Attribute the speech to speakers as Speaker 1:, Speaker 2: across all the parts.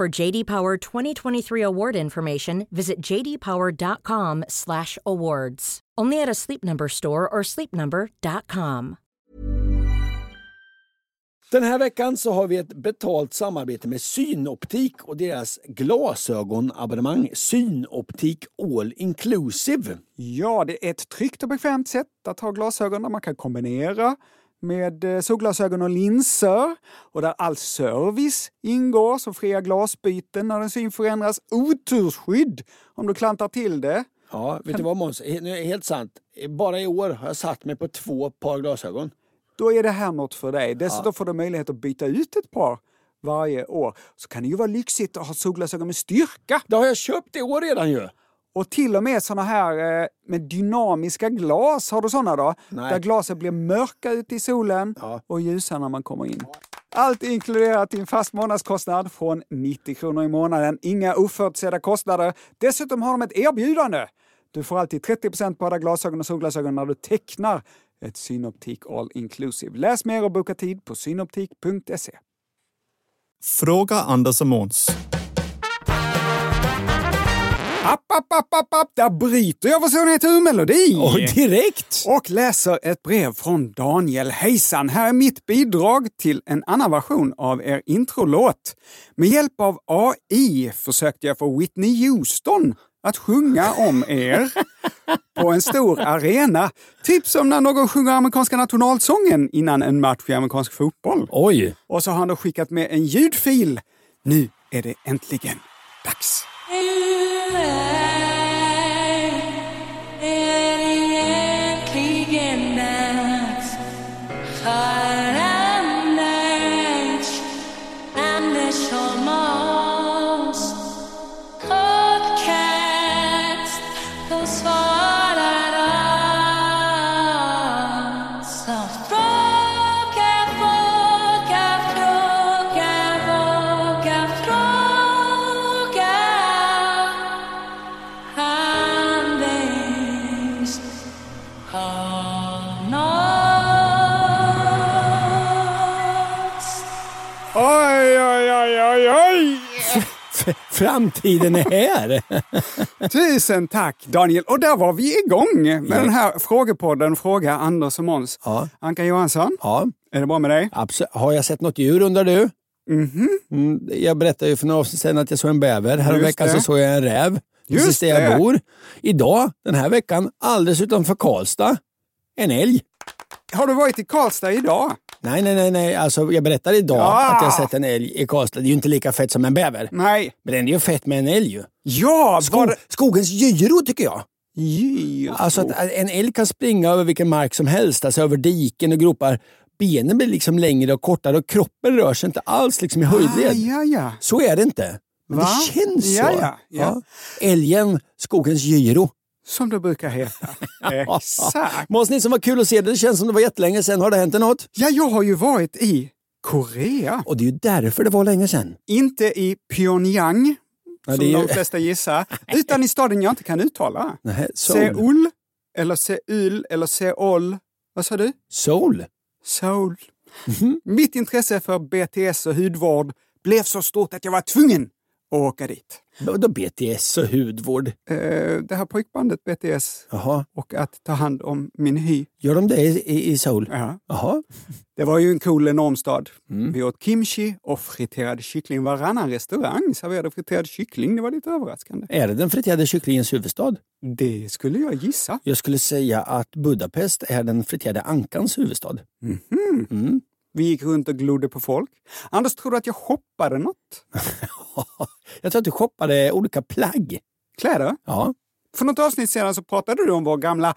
Speaker 1: For JD Power 2023 award information, visit jdpower.com/awards. Only at a Sleep Number store or sleepnumber.com.
Speaker 2: Den här veckan så har vi ett betalt samarbete med Synoptik och deras glasögonabonnemang Synoptik All Inclusive.
Speaker 3: Ja, det är ett tryggt och bekvämt sätt att ha glasögon där man kan kombinera med eh, solglasögon och linser och där all service ingår som fria glasbyten när din syn förändras, otursskydd om du klantar till det.
Speaker 2: Ja, vet du vad Måns? He- nu är det Helt sant. Eh, Bara i år har jag satt mig på två par glasögon.
Speaker 3: Då är det här något för dig. Dessutom får du möjlighet att byta ut ett par varje år. Så kan det ju vara lyxigt att ha solglasögon med styrka.
Speaker 2: Det har jag köpt i år redan ju!
Speaker 3: Och till och med såna här eh, med dynamiska glas, har du såna då?
Speaker 2: Nej.
Speaker 3: Där glaset blir mörka ute i solen och ljusa när man kommer in. Allt inkluderat i en fast månadskostnad från 90 kronor i månaden. Inga oförutsedda kostnader. Dessutom har de ett erbjudande. Du får alltid 30 på alla glasögon och solglasögon när du tecknar ett Synoptik All Inclusive. Läs mer och boka tid på synoptik.se.
Speaker 4: Fråga Anders och Måns.
Speaker 3: App, app, app, app, app! Där bryter jag vår sonhet-ur-melodi!
Speaker 2: direkt!
Speaker 3: och läser ett brev från Daniel. Hejsan! Här är mitt bidrag till en annan version av er introlåt. Med hjälp av AI försökte jag få Whitney Houston att sjunga om er på en stor arena. Typ som när någon sjunger amerikanska nationalsången innan en match i amerikansk fotboll.
Speaker 2: Oj!
Speaker 3: Och så har han då skickat med en ljudfil. Nu är det äntligen dags.
Speaker 2: Oj, oj, oj, oj, oj! Framtiden är här!
Speaker 3: Tusen tack Daniel! Och där var vi igång med den här frågepodden Fråga Anders och Måns.
Speaker 2: Ja.
Speaker 3: Anka Johansson,
Speaker 2: ja,
Speaker 3: är det bra med dig?
Speaker 2: absolut. Har jag sett något djur undrar du?
Speaker 3: Mhm.
Speaker 2: Mm, jag berättade ju för några avsnitt sedan att jag såg en bäver. Häromveckan
Speaker 3: det.
Speaker 2: så såg jag en räv.
Speaker 3: Just
Speaker 2: precis där jag
Speaker 3: det.
Speaker 2: bor. Idag, den här veckan, alldeles utanför Karlstad, en älg.
Speaker 3: Har du varit i Karlstad idag?
Speaker 2: Nej, nej, nej, nej. Alltså, jag berättar idag
Speaker 3: Ja.
Speaker 2: att jag sett en älg i Karlstad. Det är ju inte lika fett som en bäver.
Speaker 3: Nej.
Speaker 2: Men den är ju fett med en älg ju.
Speaker 3: Ja, var
Speaker 2: Skog,
Speaker 3: det...
Speaker 2: skogens gyro tycker jag.
Speaker 3: Djur.
Speaker 2: Alltså att en älg kan springa över vilken mark som helst, alltså över diken och gropar. Benen blir liksom längre och kortare och kroppen rör sig inte alls liksom i höjdled.
Speaker 3: ah, ja, ja.
Speaker 2: Så är det inte. Men
Speaker 3: Va?
Speaker 2: det känns så.
Speaker 3: Ja, ja, ja.
Speaker 2: Älgen, skogens gyro.
Speaker 3: Som det brukar heta. Exakt.
Speaker 2: Måns Nilsson, vad kul att se dig. Det känns som det var jättelänge sedan. Har det hänt dig något?
Speaker 3: Ja, jag har ju varit i Korea.
Speaker 2: Och det är ju därför det var länge sedan.
Speaker 3: Inte i Pyongyang,
Speaker 2: Ja,
Speaker 3: som
Speaker 2: det är ju-
Speaker 3: de flesta gissar, utan i staden jag inte kan uttala.
Speaker 2: Nej, Seoul.
Speaker 3: Seoul, eller Seul, eller Seoul. Vad sa du?
Speaker 2: Seoul.
Speaker 3: Soul. Mitt intresse för BTS och hudvård blev så stort att jag var tvungen att åka dit.
Speaker 2: Vadå BTS och hudvård?
Speaker 3: Eh, Det här pojkbandet BTS
Speaker 2: Jaha,
Speaker 3: och att ta hand om min hy.
Speaker 2: gör de det i, i- i Seoul?
Speaker 3: Ja.
Speaker 2: Jaha.
Speaker 3: Det var ju en cool enorm stad. Vi åt kimchi och friterad kyckling. Varannan restaurang serverade friterad kyckling. Det var lite överraskande.
Speaker 2: Är det den friterade kycklingens huvudstad?
Speaker 3: Det skulle jag gissa.
Speaker 2: Jag skulle säga att Budapest är den friterade ankans huvudstad.
Speaker 3: Vi gick runt och glodde på folk. Anders, tror du att jag shoppade något?
Speaker 2: jag tror att du shoppade olika plagg.
Speaker 3: Kläder?
Speaker 2: Ja.
Speaker 3: För något avsnitt sedan så pratade du om vår gamla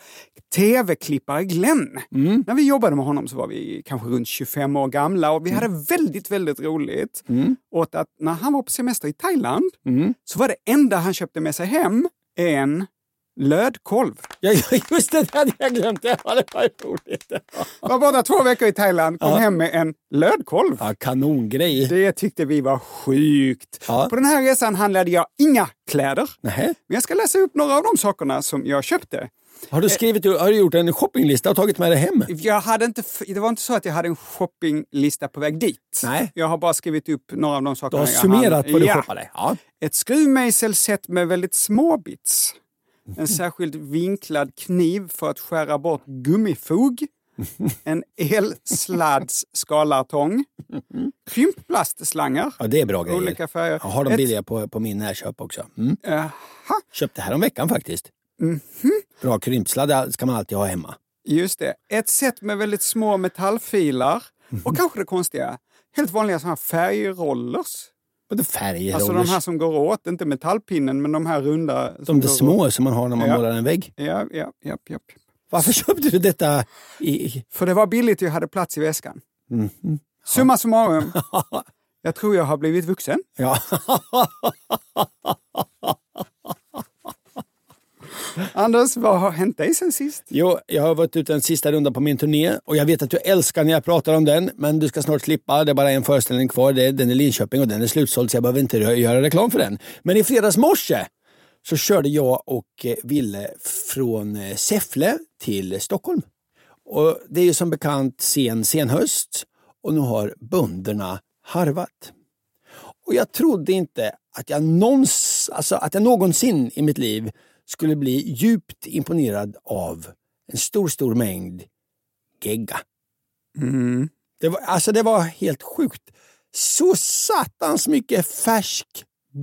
Speaker 3: tv-klippare Glenn.
Speaker 2: Mm.
Speaker 3: När vi jobbade med honom så var vi kanske runt 25 år gamla och vi
Speaker 2: Mm.
Speaker 3: hade väldigt, väldigt roligt åt att när han var på semester i Thailand
Speaker 2: Mm.
Speaker 3: så var det enda han köpte med sig hem en lödkolv.
Speaker 2: Ja, ja, just det, det hade jag glömt. Ja, det var ju roligt.
Speaker 3: Var borta två veckor i Thailand, kom hem med en lödkolv.
Speaker 2: Ja, kanongrej.
Speaker 3: Det tyckte vi var sjukt.
Speaker 2: Ja.
Speaker 3: På den här resan handlade jag inga kläder.
Speaker 2: Nähä.
Speaker 3: Men jag ska läsa upp några av de sakerna som jag köpte.
Speaker 2: Har du skrivit, har du gjort en shoppinglista och tagit med dig hem?
Speaker 3: Jag hade inte, f- det var inte så att jag hade en shoppinglista på väg dit.
Speaker 2: Nej.
Speaker 3: Jag har bara skrivit upp några av de sakerna
Speaker 2: Du har
Speaker 3: jag
Speaker 2: summerat
Speaker 3: hann-
Speaker 2: vad du
Speaker 3: ja.
Speaker 2: shoppade? Ja.
Speaker 3: Ett skruvmejselset med väldigt små bits. En särskild vinklad kniv för att skära bort gummifog. En elsladds skalartång. Krymplastslangar.
Speaker 2: ja, det är bra grejer.
Speaker 3: Olika färger.
Speaker 2: Jag har de
Speaker 3: Ett- eh,
Speaker 2: billiga på, på min närköp också. Mm.
Speaker 3: Aha,
Speaker 2: Köpte häromveckan faktiskt.
Speaker 3: Mhm.
Speaker 2: Bra krympslad ska man alltid ha hemma.
Speaker 3: just det. Ett set med väldigt små metallfilar.
Speaker 2: Mhm.
Speaker 3: Och kanske det konstiga, helt vanliga såna här färgrollers.
Speaker 2: Både färger
Speaker 3: Alltså de
Speaker 2: och
Speaker 3: här som går åt, inte metallpinnen, men de här runda. som
Speaker 2: de där
Speaker 3: går åt.
Speaker 2: små som man har när man
Speaker 3: Ja.
Speaker 2: målar en vägg.
Speaker 3: Ja, ja, ja, ja.
Speaker 2: Varför köpte du detta? I...
Speaker 3: För det var billigt och jag hade plats i väskan.
Speaker 2: Mhm.
Speaker 3: Summa summarum, jag tror jag har blivit vuxen.
Speaker 2: Ja.
Speaker 3: Anders, vad har hänt dig sen sist?
Speaker 2: Jo, jag har varit ute en sista runda på min turné och jag vet att du älskar när jag pratar om den, men du ska snart slippa. Det är bara en föreställning kvar. Det är, den är Linköping och den är slutsåld så jag behöver inte rö- göra reklam för den. Men i fredags morse så körde jag och eh, Ville från eh, Säffle till Stockholm. Och det är ju som bekant sen senhöst och nu har bönderna harvat. Och jag trodde inte att jag, någons, alltså att jag någonsin i mitt liv skulle bli djupt imponerad av en stor, stor mängd gegga. Det var, alltså det var helt sjukt. Så satans mycket färsk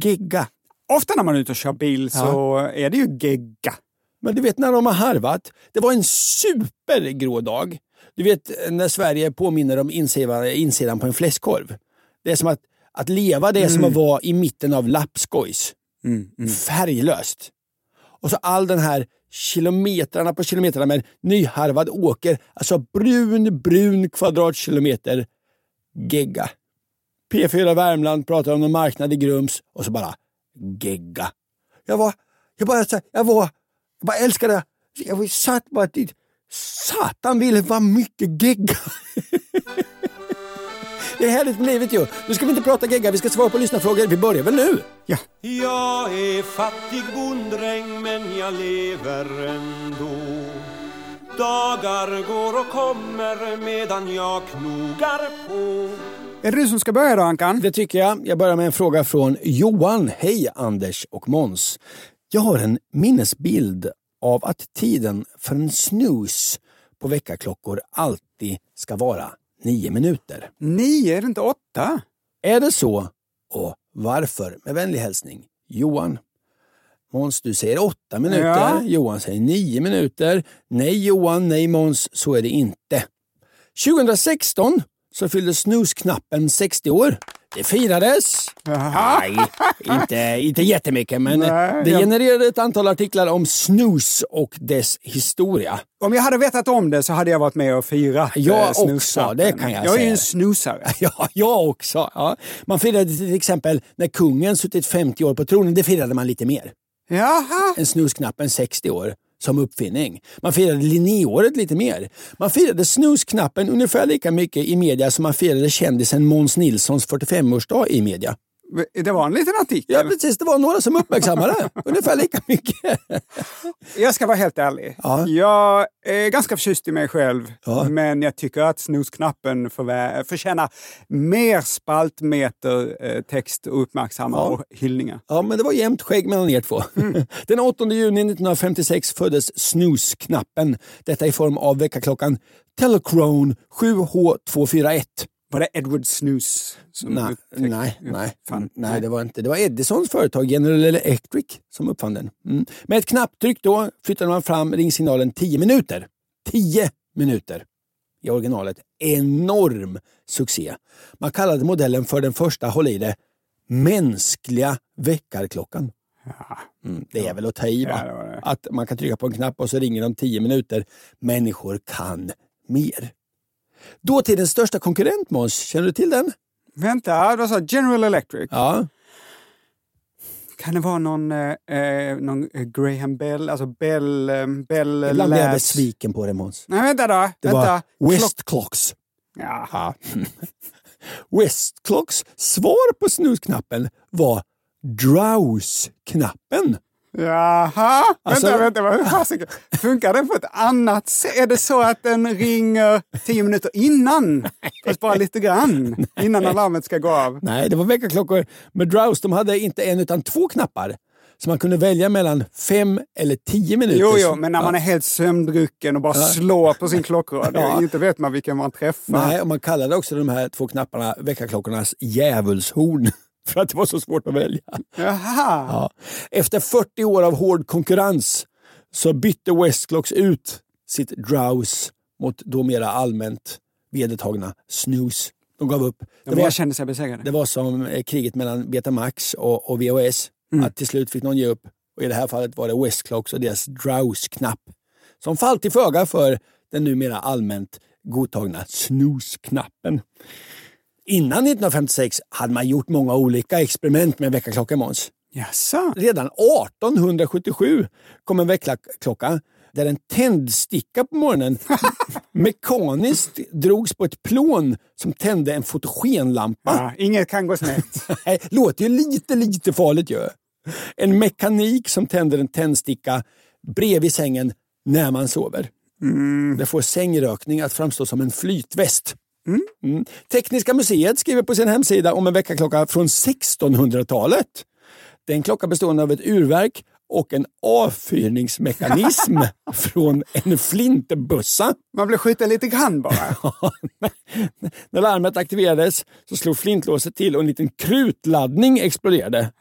Speaker 2: gegga.
Speaker 3: Ofta när man är ute och kör bil så är det ju gegga.
Speaker 2: Men du vet när de har harvat, det var en supergrå dag. Du vet eh, när Sverige påminner om insidan, insidan på en fläskkorv. Det är som att, att leva det är som att vara i mitten av lapskojs. Färglöst. Och så all den här kilometrarna på kilometrarna med nyharvad åker. Alltså brun, brun kvadratkilometer gegga. P4 Värmland pratar om någon marknad i Grums och så bara gegga. Jag var, jag bara, så här, jag var, jag bara älskade det. Jag var- satt bara dit. Satan ville vad mycket gegga. Det är härligt med livet ju. Nu ska vi inte prata gegga, vi ska svara på lyssnarfrågor. Vi börjar väl nu?
Speaker 3: Ja.
Speaker 5: Jag är fattig bonddräng men jag lever ändå Dagar går och kommer medan jag knogar på
Speaker 3: Är det du som ska börja då, Ankan?
Speaker 2: Det tycker jag. Jag börjar med en fråga från Johan. Hej Anders och Måns. Jag har en minnesbild av att tiden för en snooze på väckarklockor alltid ska vara nio minuter.
Speaker 3: Nio, är det inte åtta?
Speaker 2: Är det så? Och varför? Med vänlig hälsning, Johan. Måns, du säger åtta minuter.
Speaker 3: Ja.
Speaker 2: Johan säger nio minuter. Nej Johan, nej Måns, så är det inte. 2016 så fyllde snusknappen 60 år. Det firades. Nej, inte, inte jättemycket, men
Speaker 3: Nej,
Speaker 2: det
Speaker 3: jag-
Speaker 2: genererade ett antal artiklar om snus och dess historia.
Speaker 3: Om jag hade vetat om det så hade jag varit med och firat
Speaker 2: Jag
Speaker 3: eh,
Speaker 2: också,
Speaker 3: snusappen.
Speaker 2: det kan jag
Speaker 3: Jag är ju
Speaker 2: säga.
Speaker 3: en snusare.
Speaker 2: Ja, jag också. Ja. Man firade till exempel när kungen suttit 50 år på tronen, det firade man lite mer.
Speaker 3: Jaha,
Speaker 2: en snusknappen 60 år som uppfinning. Man firade Linnéåret lite mer. Man firade snusknappen ungefär lika mycket i media som man firade kändisen Måns Nilssons 45-årsdag i media.
Speaker 3: det var en liten artikel.
Speaker 2: Ja, precis. Det var några som uppmärksammade det. ungefär lika mycket.
Speaker 3: Jag ska vara helt ärlig.
Speaker 2: Ja.
Speaker 3: Jag är ganska förtjust i mig själv,
Speaker 2: Ja.
Speaker 3: men jag tycker att snusknappen förvä- förtjänar mer spaltmeter eh, text och uppmärksamma och hyllningar.
Speaker 2: Ja, men det var jämnt skägg mellan er två. Den 8 juni 1956 föddes snusknappen. Detta i form av väckarklockan Telecrone 7H241.
Speaker 3: Var det Edward Snus som
Speaker 2: Nej,
Speaker 3: upptäckte-
Speaker 2: nej, nej, Mm,
Speaker 3: uppfann?
Speaker 2: nej, det var inte. Det var Edisons företag General Electric som uppfann den. Mm. Med ett knapptryck då flyttade man fram ringsignalen 10 minuter. 10 minuter i originalet. Enorm succé. Man kallade modellen för den första, håll i det, mänskliga väckarklockan. Mm, det är väl att ta i, va?
Speaker 3: Ja, det var det.
Speaker 2: Att man kan trycka på en knapp och så ringer det om tio minuter. Människor kan mer. Dåtidens största konkurrent, Måns, känner du till den?
Speaker 3: Vänta, du sa General Electric.
Speaker 2: Ja.
Speaker 3: Kan det vara någon, eh, eh, någon eh, Graham Bell, alltså Bell... Eh, Bell
Speaker 2: Ibland blir jag
Speaker 3: Labs?
Speaker 2: besviken på dig, Måns.
Speaker 3: Nej, vänta då.
Speaker 2: Det
Speaker 3: vänta.
Speaker 2: var
Speaker 3: Klock-
Speaker 2: Westclocks.
Speaker 3: Ja.
Speaker 2: Ja. Westclocks svar på snusknappen var drowse-knappen.
Speaker 3: Jaha.
Speaker 2: Alltså-
Speaker 3: vänta, vänta. vad- Hur fasiken- Funkar den på ett annat sätt? Är det så att den ringer tio minuter innan? Fast bara lite grann. Innan alarmet ska gå av.
Speaker 2: Nej, det var väckarklockor. Men drowse, de hade inte en utan två knappar. Så man kunde välja mellan fem eller tio minuter.
Speaker 3: Jo, jo, men när man är helt sömndrucken och bara slår på sin klockrad.
Speaker 2: Ja.
Speaker 3: Inte vet man vilken man träffar.
Speaker 2: Nej, och man kallade också de här två knapparna väckarklockornas djävulshorn. För att det var så svårt att välja.
Speaker 3: Jaha.
Speaker 2: Ja. Efter 40 år av hård konkurrens så bytte Westclocks ut sitt drowse mot då mera allmänt vedertagna snooze. De gav upp. Det
Speaker 3: men
Speaker 2: var,
Speaker 3: jag kände sig besegrad.
Speaker 2: det var som eh, kriget mellan Betamax och, och VHS.
Speaker 3: Mm.
Speaker 2: Att till slut fick någon ge upp. Och I det här fallet var det Westclocks och deras drowse-knapp som fall till föga för den numera allmänt godtagna snooze-knappen. Innan 1956 hade man gjort många olika experiment med väckarklockan Måns.
Speaker 3: Jaså?
Speaker 2: Redan 1877 kom en väckarklocka där en tändsticka på morgonen mekaniskt drogs på ett plån som tände en fotogenlampa.
Speaker 3: Ja, inget kan gå snett.
Speaker 2: Nej, låter ju lite, lite farligt ju. En mekanik som tänder en tändsticka bredvid sängen när man sover. Det får sängrökning att framstå som en flytväst. Mm. Tekniska museet skriver på sin hemsida om en väckarklocka från 1600-talet. Det är en klocka bestående av ett urverk och en avfyrningsmekanism från en flintbössa.
Speaker 3: Man blir skjuten lite grann bara.
Speaker 2: När larmet aktiverades så slog flintlåset till och en liten krutladdning exploderade.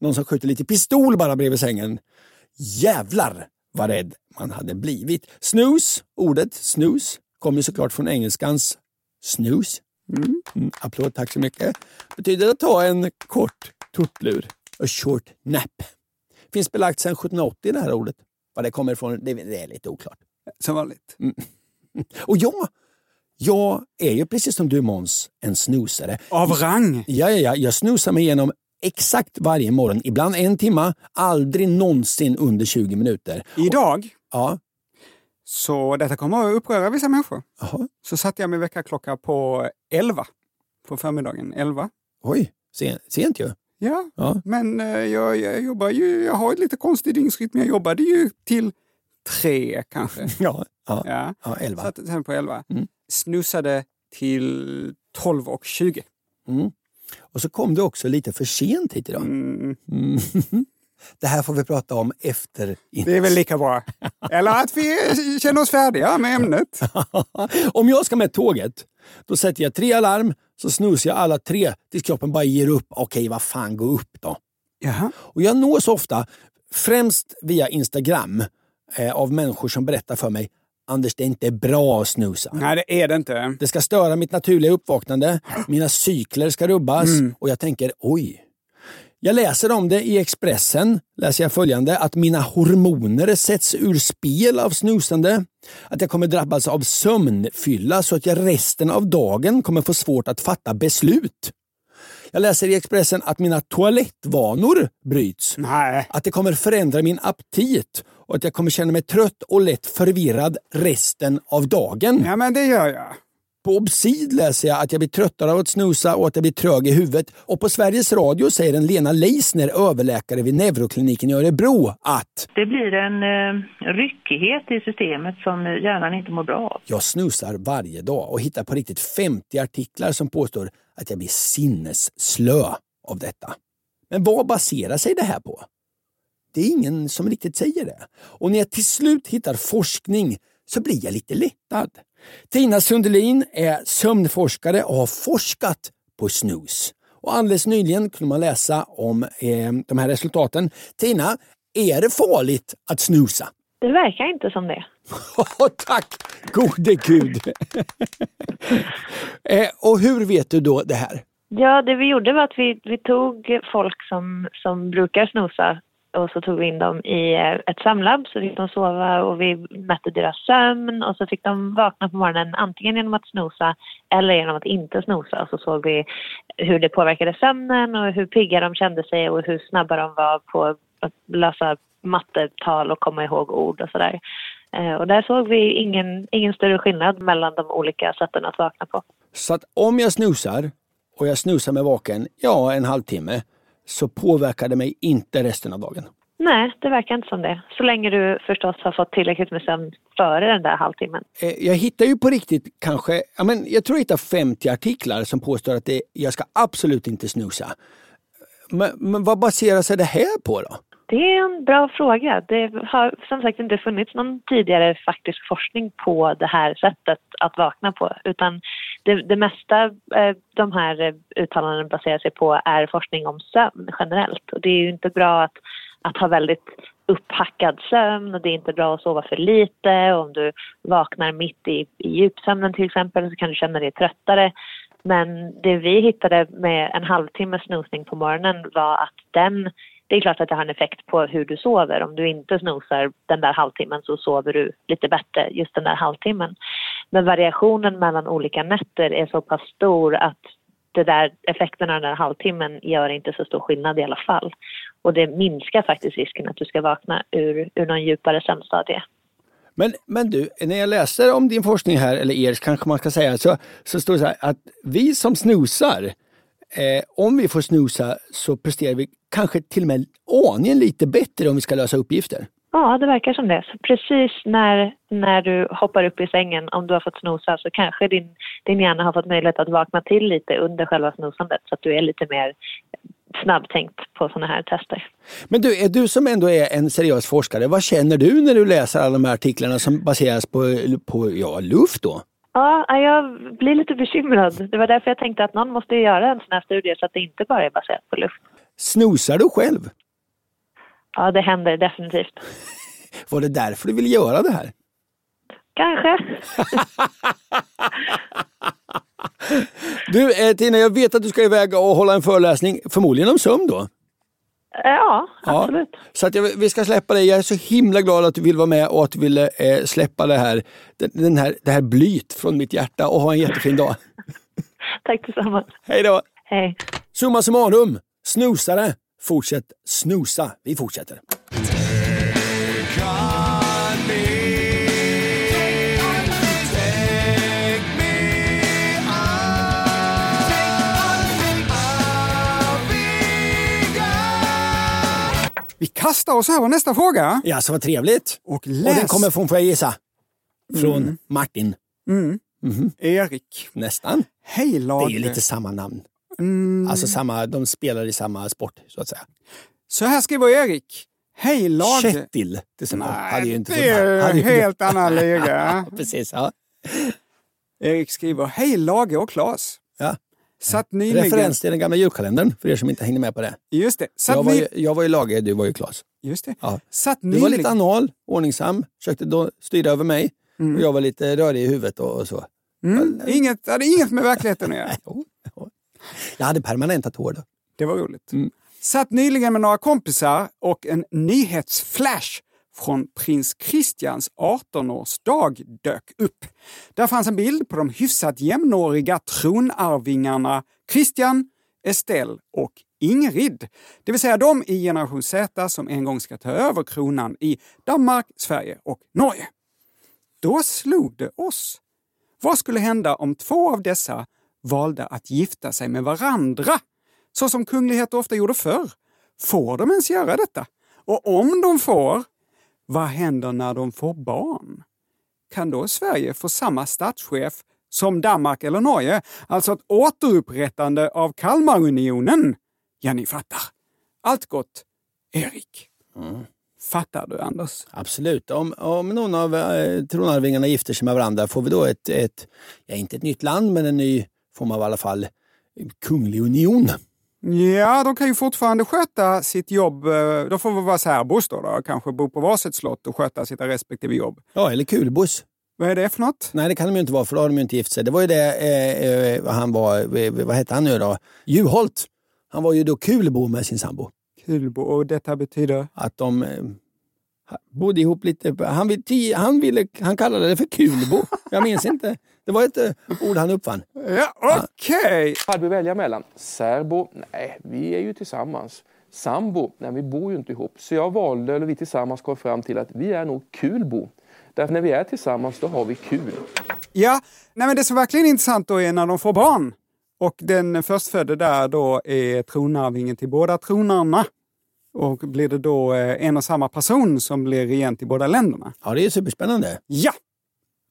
Speaker 2: Någon som skjuter lite pistol bara bredvid sängen. Jävlar vad rädd man hade blivit. Snus, ordet snus, kommer såklart från engelskans snus. Mm, applåd, tack så mycket. Betyder att ta en kort tupplur. A short nap. Finns belagt sedan 1780 det här ordet. Var det kommer ifrån, det det är lite oklart.
Speaker 3: Som vanligt.
Speaker 2: Och jag, jag är ju precis som du Måns, en snusare.
Speaker 3: Av rang.
Speaker 2: Ja, ja, ja, jag snusar mig igenom exakt varje morgon, ibland en timma, aldrig någonsin under 20 minuter.
Speaker 3: Idag,
Speaker 2: Ja,
Speaker 3: så detta kommer att uppröra vissa människor,
Speaker 2: jaha,
Speaker 3: så satte jag min väckarklocka på 11 på förmiddagen. 11.
Speaker 2: oj, sen, sent ju.
Speaker 3: Ja,
Speaker 2: Ja.
Speaker 3: men eh, jag, jag jobbar ju, jag har ju lite konstig dygnsrytm. Jag jobbade ju till tre kanske.
Speaker 2: Ja, ja,
Speaker 3: Ja.
Speaker 2: ja elva.
Speaker 3: Satt sen på 11.
Speaker 2: Mm.
Speaker 3: Snusade till 12 och 20.
Speaker 2: Och så kom du också lite för sent hit idag.
Speaker 3: Mm.
Speaker 2: Mm. Det här får vi prata om efter.
Speaker 3: Det är väl lika bra. Eller att vi känner oss färdiga med ämnet.
Speaker 2: om jag ska med tåget, då sätter jag tre alarm, så snusar jag alla tre tills kroppen bara ger upp. Okej, vad fan, gå upp då.
Speaker 3: Jaha.
Speaker 2: Och jag nås ofta, främst via Instagram, eh, av människor som berättar för mig Anders, det är inte bra att snusa.
Speaker 3: Nej, det är det inte.
Speaker 2: Det ska störa mitt naturliga uppvaknande, mina cykler ska rubbas och jag tänker oj. Jag läser om det i Expressen, läser jag följande, att mina hormoner sätts ur spel av snusande, att jag kommer drabbas av sömnfylla så att jag resten av dagen kommer få svårt att fatta beslut. Jag läser i Expressen att mina toalettvanor bryts
Speaker 3: Nej.
Speaker 2: att det kommer förändra min aptit och att jag kommer känna mig trött och lätt förvirrad resten av dagen.
Speaker 3: Ja, men det gör jag.
Speaker 2: På Obsid läser jag att jag blir tröttare av att snusa och att jag blir trög i huvudet. Och på Sveriges Radio säger en Lena Leisner, överläkare vid neurokliniken i Örebro, att
Speaker 6: Det blir en eh, ryckighet i systemet som hjärnan inte mår bra av.
Speaker 2: jag snusar varje dag och hittar på riktigt 50 artiklar som påstår att jag blir sinnesslö av detta. Men vad baserar sig det här på? Det är ingen som riktigt säger det. Och när jag till slut hittar forskning så blir jag lite lättad. Tina Sundelin är sömnforskare och har forskat på snus. Och alldeles nyligen kunde man läsa om eh, de här resultaten. Tina, är det farligt att snusa?
Speaker 7: Det verkar inte som det.
Speaker 2: Ja, tack gode gud! eh, och hur vet du då det här?
Speaker 7: Ja, det vi gjorde var att vi, vi tog folk som, som brukar snosa och så tog vi in dem i eh, ett sömnlabb så fick de sova och vi mätte deras sömn och så fick de vakna på morgonen antingen genom att snosa eller genom att inte snosa och så såg vi hur det påverkade sömnen och hur pigga de kände sig och hur snabba de var på att lösa mattetal och komma ihåg ord och sådär. Eh, Och där såg vi ingen, ingen större skillnad mellan de olika sätten att vakna på.
Speaker 2: Så att om jag snusar och jag snusar med vaken, ja, en halvtimme, så påverkar det mig inte resten av dagen.
Speaker 7: Nej, det verkar inte som det. Så länge du förstås har fått tillräckligt med sömn före den där halvtimmen.
Speaker 2: Eh, Jag hittar ju på riktigt kanske, ja, men jag tror jag hittar 50 artiklar som påstår att det, jag ska absolut inte snusa. Men, men vad baserar sig det här på då?
Speaker 7: Det är en bra fråga. Det har som sagt inte funnits någon tidigare faktisk forskning på det här sättet att vakna på. Utan det, det mesta eh, de här eh, uttalandena baserar sig på är forskning om sömn generellt. Och det är ju inte bra att, att ha väldigt upphackad sömn och det är inte bra att sova för lite. Och om du vaknar mitt i, i djupsömnen till exempel så kan du känna dig tröttare. Men det vi hittade med en halvtimmes snosning på morgonen var att den det är klart att det har en effekt på hur du sover. Om du inte snosar den där halvtimmen så sover du lite bättre just den där halvtimmen. Men variationen mellan olika nätter är så pass stor att det där effekten av den där halvtimmen gör inte så stor skillnad i alla fall. Och det minskar faktiskt risken att du ska vakna ur, ur någon djupare sömnstadie.
Speaker 2: Men, men du, när jag läser om din forskning här, eller er kanske man ska säga, så, så står det så här att vi som snusar, eh, om vi får snusa så presterar vi kanske till och med aningen lite bättre om vi ska lösa uppgifter.
Speaker 7: Ja, det verkar som det. Så precis när, när du hoppar upp i sängen, om du har fått snosa, så kanske din, din hjärna har fått möjlighet att vakna till lite under själva snosandet så att du är lite mer snabbtänkt på sådana här tester.
Speaker 2: Men du, är du som ändå är en seriös forskare, vad känner du när du läser alla de här artiklarna som baseras på, på ja, luft då?
Speaker 7: Ja, jag blir lite bekymrad. Det var därför jag tänkte att någon måste ju göra en sån här studie så att det inte bara är baserat på luft.
Speaker 2: Snusar du själv?
Speaker 7: Ja, det händer definitivt.
Speaker 2: Var det därför du ville göra det här?
Speaker 7: Kanske.
Speaker 2: Du, eh, Tina, jag vet att du ska iväg och hålla en föreläsning, förmodligen om sömn då?
Speaker 7: Ja, absolut.
Speaker 2: Så att jag, vi ska släppa dig. Jag är så himla glad att du vill vara med och att du ville eh, släppa det här, den, den här, det här blyt från mitt hjärta och ha en jättefin dag.
Speaker 7: Tack tillsammans.
Speaker 2: Hej då!
Speaker 7: Hej.
Speaker 2: Summa summarum, snusare, fortsätt snusa. Vi fortsätter.
Speaker 3: Vi kastar oss över nästa fråga.
Speaker 2: Ja, så vad trevligt.
Speaker 3: Och
Speaker 2: Och
Speaker 3: läs Mm.
Speaker 2: den kommer från, får jag gissa, från Martin.
Speaker 3: Erik.
Speaker 2: Nästan.
Speaker 3: Hej
Speaker 2: Det
Speaker 3: Lade.
Speaker 2: är ju lite samma namn.
Speaker 3: Mm.
Speaker 2: Alltså samma, de spelar i samma sport så att säga.
Speaker 3: Så här skriver Erik. Hej Lade.
Speaker 2: Kjetil till exempel. Hade ju inte
Speaker 3: det är
Speaker 2: hade
Speaker 3: ju
Speaker 2: ju inte-
Speaker 3: helt annan liga.
Speaker 2: Precis, ja.
Speaker 3: Erik skriver, hej Lage och Claes.
Speaker 2: ja.
Speaker 3: Satt nyligen...
Speaker 2: Referens till den gamla julkalendern, för er som inte hängde med på det.
Speaker 3: Just det.
Speaker 2: Jag
Speaker 3: Satt,
Speaker 2: var,
Speaker 3: ny...
Speaker 2: ju, jag var ju Lage, du var ju Claes.
Speaker 3: Just det.
Speaker 2: Ja.
Speaker 3: Satt
Speaker 2: Du var lite
Speaker 3: nyligen...
Speaker 2: anal, ordningsam, försökte då styra över mig. Och jag var lite rörig i huvudet och, och så.
Speaker 3: Mm, inget, hade inget med verkligheten att göra.
Speaker 2: Jo, jo. Jag hade permanentat hår då.
Speaker 3: Det var roligt. Satt nyligen med några kompisar och en nyhetsflash från prins Christians 18-årsdag dök upp. Där fanns en bild på de hyfsat jämnåriga tronarvingarna Christian, Estelle och Ingrid. Det vill säga de i generation Z som en gång ska ta över kronan i Danmark, Sverige och Norge. Då slog det oss. Vad skulle hända om två av dessa valde att gifta sig med varandra? Så som kungligheter ofta gjorde förr. Får de ens göra detta? Och om de får, vad händer när de får barn? Kan då Sverige få samma statschef som Danmark eller Norge? Alltså ett återupprättande av Kalmarunionen? Ja, ni fattar. Allt gott, Erik. Fattar du, Anders?
Speaker 2: Absolut. Om, om någon av eh, tronarvingarna gifter sig med varandra får vi då ett, ett, ja inte ett nytt land, men en ny form av i alla fall kunglig union.
Speaker 3: Ja, de kan ju fortfarande sköta sitt jobb. eh, De får väl vara särbos då, då, kanske bo på varsitt slott och sköta sina respektive jobb.
Speaker 2: Ja, eller kulbuss.
Speaker 3: Vad är det för något?
Speaker 2: Nej, det kan de ju inte vara, för då har de ju inte gift sig. Det var ju det eh, eh, han var, eh, vad hette han nu då? Juholt. Han var ju då kulbo med sin sambo.
Speaker 3: Kulbo och detta betyder?
Speaker 2: Att de eh, bodde ihop lite. Han, vill, ti- han, ville, han kallade det för kulbo. Jag minns inte. Det var ett eh, ord han uppfann.
Speaker 3: Ja, okej!
Speaker 8: Hade vi välja mellan särbo? Nej, vi är ju tillsammans. Sambo? Nej, vi bor ju inte ihop. Så jag valde, eller vi tillsammans kom fram till att vi är nog kulbo. Därför när vi är tillsammans, då har vi kul.
Speaker 3: Ja, nej men det som verkligen är intressant då är när de får barn. Och den förstfödde där då är tronarvingen till båda tronarna. Och blir det då eh, en och samma person som blir regent i båda länderna?
Speaker 2: Ja, det är superspännande.
Speaker 3: Ja!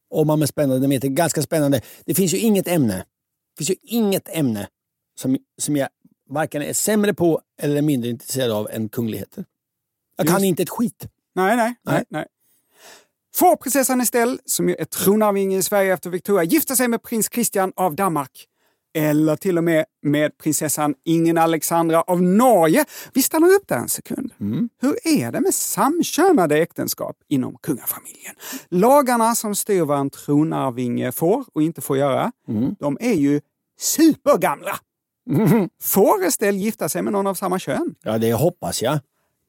Speaker 2: Om man med spännande meter, ganska spännande. Det finns ju inget ämne. Det finns ju inget ämne som, som jag varken är sämre på eller är mindre intresserad av än kungligheter. Jag kan
Speaker 3: Just-
Speaker 2: inte ett skit.
Speaker 3: Nej, nej, nej.
Speaker 2: Nej.
Speaker 3: nej. Får prinsessan Estelle, som ju är tronarvinge i Sverige efter Victoria, gifta sig med prins Christian av Danmark? Eller till och med med prinsessan Ingen Alexandra av Norge? Vi stannar upp där en sekund. Hur är det med samkönade äktenskap inom kungafamiljen? Lagarna som styr vad en tronarvinge får och inte får göra, de är ju supergamla. Får Estelle gifta sig med någon av samma kön?
Speaker 2: Ja, det hoppas jag.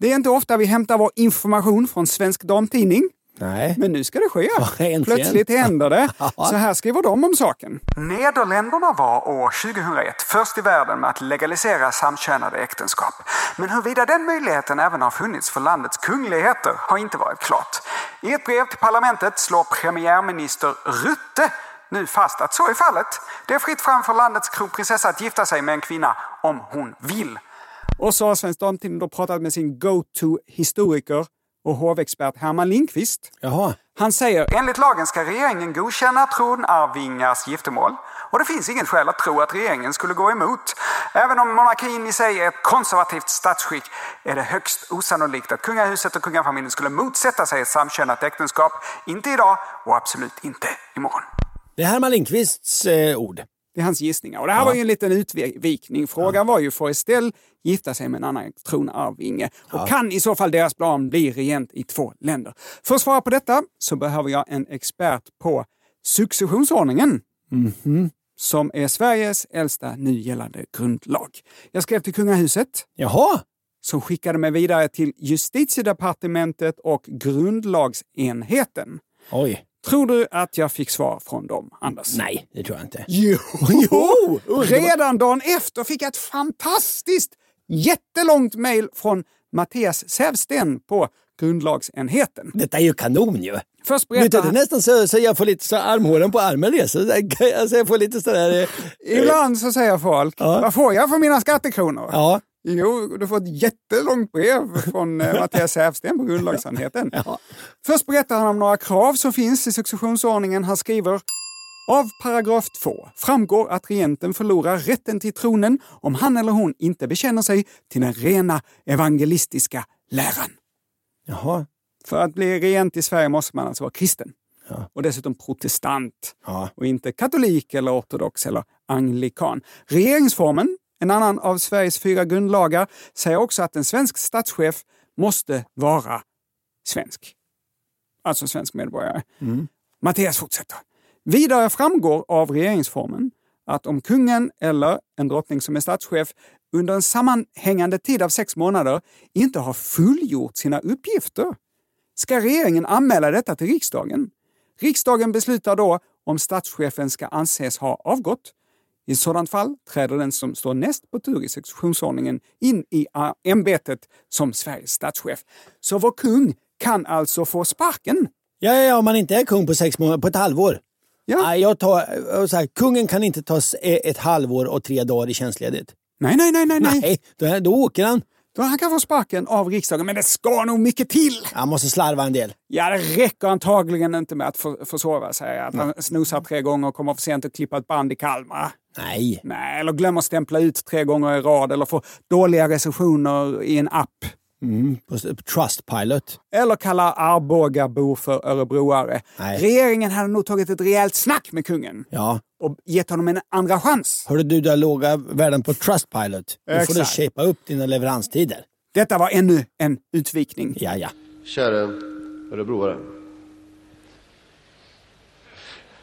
Speaker 3: Det är inte ofta vi hämtar vår information från Svensk Damtidning.
Speaker 2: Nej.
Speaker 3: Men nu ska det ske.
Speaker 2: Ja, äntligen.
Speaker 3: Plötsligt händer det. Så här skriver de om saken. Nederländerna var år 2001 först i världen med att legalisera samkönade äktenskap. Men huruvida den möjligheten även har funnits för landets kungligheter har inte varit klart. I ett brev till parlamentet slår premiärminister Rutte nu fast att så är fallet. Det är fritt fram för landets kronprinsessa att gifta sig med en kvinna om hon vill. Och så har Svensk Damtidning då pratat med sin go-to-historiker och hovexpert Herman Lindqvist.
Speaker 2: Jaha.
Speaker 3: Han säger Enligt lagen ska regeringen godkänna tronarvingars giftermål. Och det finns inget skäl att tro att regeringen skulle gå emot. Även om monarkin i sig är ett konservativt statsskick är det högst osannolikt att kungahuset och kungafamiljen skulle motsätta sig ett samkönat äktenskap. Inte idag och absolut inte imorgon.
Speaker 2: Det är Herman Lindqvists eh, ord.
Speaker 3: Det är hans gissningar. Och det här var ju en liten utvikning. Frågan var ju, får Estelle gifta sig med en annan tronarvinge? Och kan i så fall deras plan bli regent i två länder? För att svara på detta så behöver jag en expert på successionsordningen. Som är Sveriges äldsta nu gällande grundlag. Jag skrev till kungahuset
Speaker 2: Jaha.
Speaker 3: som skickade mig vidare till justitiedepartementet och grundlagsenheten.
Speaker 2: Oj.
Speaker 3: Tror du att jag fick svar från dem, Anders?
Speaker 2: Nej, det tror jag inte.
Speaker 3: Jo!
Speaker 2: Jo!
Speaker 3: Redan dagen efter fick jag ett fantastiskt jättelångt mejl från Mattias Sävsten på grundlagsenheten.
Speaker 2: Detta är ju kanon ju.
Speaker 3: Först
Speaker 2: Vet
Speaker 3: berättar
Speaker 2: du, det är
Speaker 3: han,
Speaker 2: nästan så, så jag får lite så armhålen på armen reser. Alltså jag får lite sådär... eh,
Speaker 3: ibland så säger folk, vad får jag för mina skattekronor?
Speaker 2: Ja.
Speaker 3: Jo, du får ett jättelångt brev från eh, Mattias Säfsten på grundlagsenheten. Först berättar han om några krav som finns i successionsordningen. Han skriver av paragraf 2 framgår att regenten förlorar rätten till tronen om han eller hon inte bekänner sig till den rena evangelistiska läran.
Speaker 2: Jaha.
Speaker 3: För att bli regent i Sverige måste man alltså vara kristen. Och dessutom protestant.
Speaker 2: Ja.
Speaker 3: Och inte katolik eller ortodox eller anglikan. Regeringsformen, en annan av Sveriges fyra grundlagar, säger också att en svensk statschef måste vara svensk. Alltså svensk medborgare. Mattias fortsätter. Vidare framgår av regeringsformen att om kungen eller en drottning som är statschef under en sammanhängande tid av sex månader inte har fullgjort sina uppgifter ska regeringen anmäla detta till riksdagen. Riksdagen beslutar då om statschefen ska anses ha avgått. I sådant fall träder den som står näst på tur i successionsordningen in i ä, ämbetet som Sveriges statschef. Så vår kung kan alltså få sparken.
Speaker 2: Ja, ja, ja, om man inte är kung på sex månader, på ett halvår.
Speaker 3: Ja.
Speaker 2: Nej, jag tar, jag så här, kungen kan inte ta s- eh, ett halvår och tre dagar i tjänstledigt.
Speaker 3: Nej, nej, nej, nej, nej.
Speaker 2: Nej, då, då åker han.
Speaker 3: Då han kan få sparken av riksdagen, men det ska nog mycket till.
Speaker 2: Han måste slarva en del.
Speaker 3: Ja, det räcker antagligen inte med att för, försova sig, att han snosar tre gånger och kommer för sent och klippa ett band i Kalmar.
Speaker 2: Nej.
Speaker 3: Nej, eller glömmer stämpla ut tre gånger i rad eller får dåliga recensioner i en app.
Speaker 2: På s- Trustpilot.
Speaker 3: Eller kallar Arbogabor för örebroare.
Speaker 2: Nej.
Speaker 3: Regeringen hade nog tagit ett rejält snack med kungen
Speaker 2: Ja.
Speaker 3: och gett honom en andra chans.
Speaker 2: Hörde du, du har låga värden på Trustpilot. Nu får du
Speaker 3: Exakt.
Speaker 2: shapea upp dina leveranstider.
Speaker 3: Detta var ännu en utvikning.
Speaker 2: Ja, ja.
Speaker 9: Käre örebroare.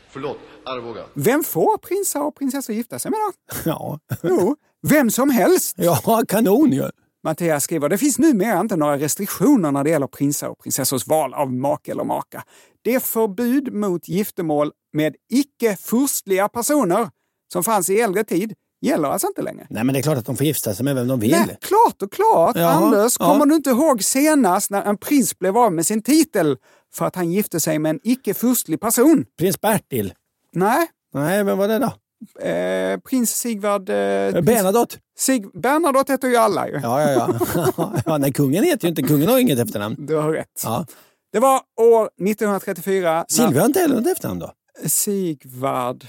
Speaker 9: Förlåt, Arboga.
Speaker 3: Vem får prinsar och prinsessor gifta sig med då?
Speaker 2: Ja,
Speaker 3: Jo, vem som helst.
Speaker 2: ja kanon ju.
Speaker 3: Mattias skriver, det finns numera inte några restriktioner när det gäller prinsar och prinsessors val av make eller maka. Det förbud mot giftermål med icke-furstliga personer som fanns i äldre tid gäller alltså inte längre.
Speaker 2: Nej, men det är klart att de får gifta sig med vem de vill.
Speaker 3: Nej, klart och klart!
Speaker 2: Jaha,
Speaker 3: Anders,
Speaker 2: ja.
Speaker 3: kommer du inte ihåg senast när en prins blev av med sin titel för att han gifte sig med en icke-furstlig person?
Speaker 2: Prins Bertil.
Speaker 3: Nej,
Speaker 2: Nej, vem var det då?
Speaker 3: eh, prins Sigvard... Eh, prins
Speaker 2: Bernadotte.
Speaker 3: Sig- Bernadotte heter ju alla ju.
Speaker 2: Ja, ja, ja. ja nej, kungen heter ju inte... Kungen har inget efternamn.
Speaker 3: Du har rätt.
Speaker 2: Ja.
Speaker 3: Det var år 1934
Speaker 2: Silvia har inte heller något efternamn då.
Speaker 3: när Sigvard...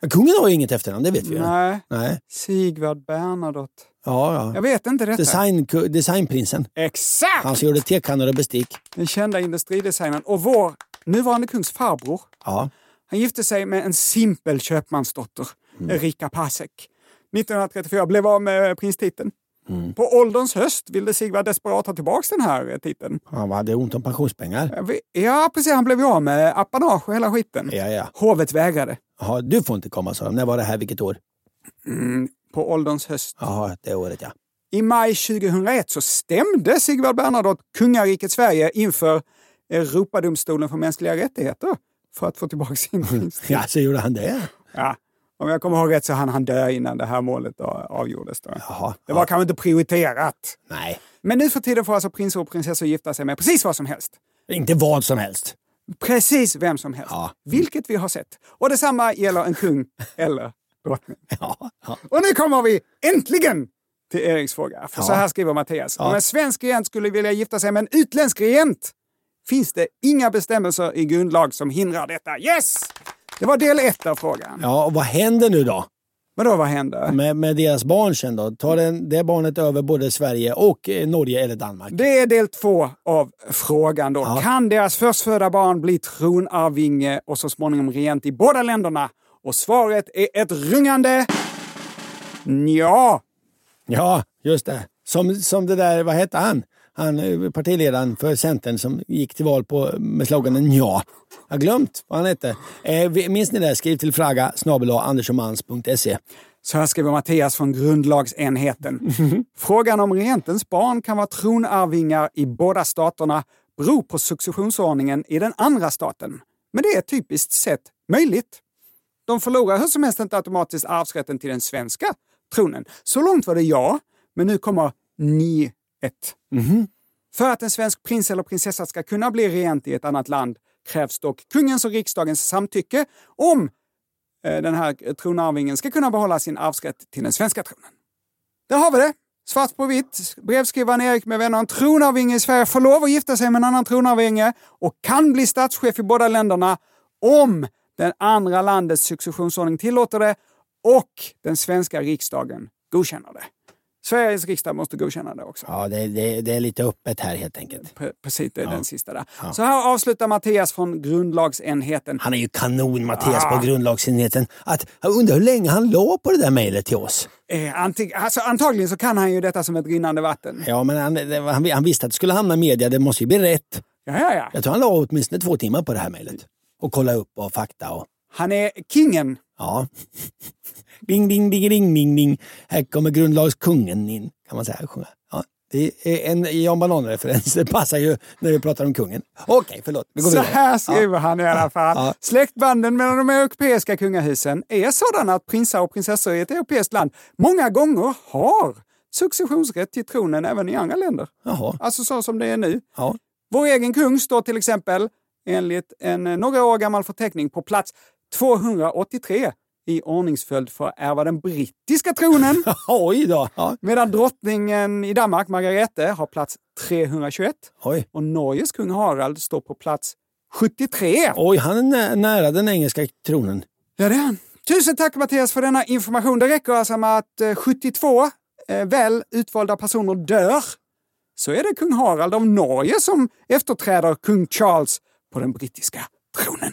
Speaker 2: Men Kungen har ju inget efternamn, det vet vi ju.
Speaker 3: Nej,
Speaker 2: Nej.
Speaker 3: Sigvard Bernadotte.
Speaker 2: Ja,
Speaker 3: Jag
Speaker 2: ja.
Speaker 3: vet inte detta.
Speaker 2: Design, designprinsen.
Speaker 3: Exakt!
Speaker 2: Han som gjorde tekannor och bestick.
Speaker 3: Den kända industridesignern och vår nuvarande kungs farbror.
Speaker 2: Ja.
Speaker 3: Han gifte sig med en simpel köpmansdotter,
Speaker 2: Mm.
Speaker 3: Erika Pasek. 1934 blev av med prinstiteln.
Speaker 2: Mm.
Speaker 3: På ålderns höst ville Sigvard desperat ha tillbaka den här eh, titeln.
Speaker 2: Han hade ont om pensionspengar.
Speaker 3: Jag vet- Ja, precis. Han blev ju av med apanage och hela skiten.
Speaker 2: Ja, ja.
Speaker 3: Hovet vägrade.
Speaker 2: Jaha, du får inte komma, sa de. När var det här? Vilket år?
Speaker 3: På ålderns höst.
Speaker 2: Jaha, det året ja.
Speaker 3: I maj 2001 så stämde Sigvard Bernadotte kungariket Sverige inför Europadomstolen för mänskliga rättigheter för att få tillbaka sin prinstitel.
Speaker 2: Ja, så gjorde han det.
Speaker 3: Ja. Om jag kommer ihåg rätt så hann han dö innan det här målet då avgjordes. Då.
Speaker 2: Jaha.
Speaker 3: Det var kanske inte prioriterat.
Speaker 2: Nej,
Speaker 3: Men nu för tiden får alltså prinsar och prinsessor gifta sig med precis vad som helst.
Speaker 2: inte vad som helst.
Speaker 3: Precis vem som helst.
Speaker 2: Ja.
Speaker 3: Vilket vi har sett. Och detsamma gäller en kung eller drottning.
Speaker 2: Ja, ja.
Speaker 3: Och nu kommer vi äntligen till Eriks fråga. För så
Speaker 2: Ja.
Speaker 3: här skriver Mattias.
Speaker 2: Ja.
Speaker 3: Om en svensk regent skulle vilja gifta sig med en utländsk regent finns det inga bestämmelser i grundlag som hindrar detta. Yes! Det var del ett av frågan.
Speaker 2: ja och vad händer nu då?
Speaker 3: Men då vad händer?
Speaker 2: Med, med deras barn sen då? Tar den, det barnet över både Sverige och eh, Norge eller Danmark?
Speaker 3: Det är del två av frågan då.
Speaker 2: Ja.
Speaker 3: Kan deras förstfödda barn bli tronarvinge och så småningom regent i båda länderna? Och svaret är ett rungande ja.
Speaker 2: Ja, just det. Som, som det där, vad hette han? Han eh, partiledaren för Centern som gick till val på, med sloganen ja. Jag har glömt vad han hette. Eh, vi- minns ni det? Skriv till fraga snabel andersomans.se.
Speaker 3: Så här skriver Mattias från grundlagsenheten. Frågan om regentens barn kan vara tronarvingar i båda staterna beror på successionsordningen i den andra staten. Men det är typiskt sett möjligt. De förlorar hur som helst inte automatiskt arvsrätten till den svenska tronen. Så långt var det ja, men nu kommer ni ett. För att en svensk prins eller prinsessa ska kunna bli regent i ett annat land krävs dock kungens och riksdagens samtycke om eh, den här tronarvingen ska kunna behålla sin arvsrätt till den svenska tronen. Där har vi det! Svart på vitt. Brevskrivaren Erik med vänner, en tronarvinge i Sverige, får lov att gifta sig med en annan tronarvinge och kan bli statschef i båda länderna om den andra landets successionsordning tillåter det och den svenska riksdagen godkänner det. Sveriges riksdag måste godkänna det också.
Speaker 2: Ja, det, det, det är lite öppet här helt enkelt.
Speaker 3: Pre- Precis, det är den sista där. Så här avslutar Mattias från grundlagsenheten.
Speaker 2: Han är ju kanon, Mattias, på grundlagsenheten. Att, jag undrar hur länge han la på det där mejlet till oss.
Speaker 3: Eh, anting, alltså, antagligen så kan han ju detta som ett rinnande vatten.
Speaker 2: Ja, men han, det- han, han visste att det skulle hamna i media. Det måste ju bli rätt.
Speaker 3: Ja, ja, ja.
Speaker 2: Jag tror han la åtminstone två timmar på det här mejlet. Och kolla upp och fakta och...
Speaker 3: Han är kingen.
Speaker 2: Ja. Ding, ding, ding, ding, ding, ding. Här kommer grundlagskungen in, kan man säga. Sjunga. Ja. Det är en Jan Banan-referens. Det passar ju när vi pratar om kungen. Okej, förlåt. Vi går
Speaker 3: Så
Speaker 2: vidare.
Speaker 3: här skriver han i alla fall.
Speaker 2: Ja.
Speaker 3: Släktbanden mellan de europeiska kungahusen är sådana att prinsar och prinsessor i ett europeiskt land många gånger har successionsrätt till tronen även i andra länder.
Speaker 2: Jaha.
Speaker 3: Alltså så som det är nu.
Speaker 2: Ja.
Speaker 3: Vår egen kung står till exempel enligt en eh, några år gammal förteckning på plats 283 i ordningsföljd för att ärva den brittiska tronen.
Speaker 2: Oj då. Ja.
Speaker 3: Medan drottningen i Danmark, Margarete, har plats 321
Speaker 2: Oj.
Speaker 3: och Norges kung Harald står på plats 73.
Speaker 2: Oj, han är nä- nära den engelska tronen.
Speaker 3: Ja, det är han. Tusen tack Mattias för denna information. Det räcker alltså med att eh, 72 eh, väl utvalda personer dör så är det kung Harald av Norge som efterträder kung Charles på den brittiska tronen.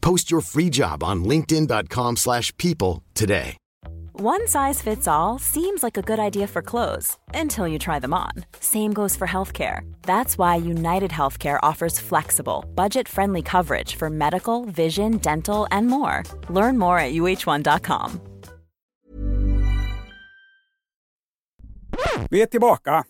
Speaker 10: Post your free job on linkedin.com slash people today.
Speaker 11: One size fits all seems like a good idea for clothes until you try them on. Same goes for healthcare. That's why United Healthcare offers flexible, budget friendly coverage for medical, vision, dental, and more. Learn more at uh1.com.
Speaker 3: Vi är tillbaka.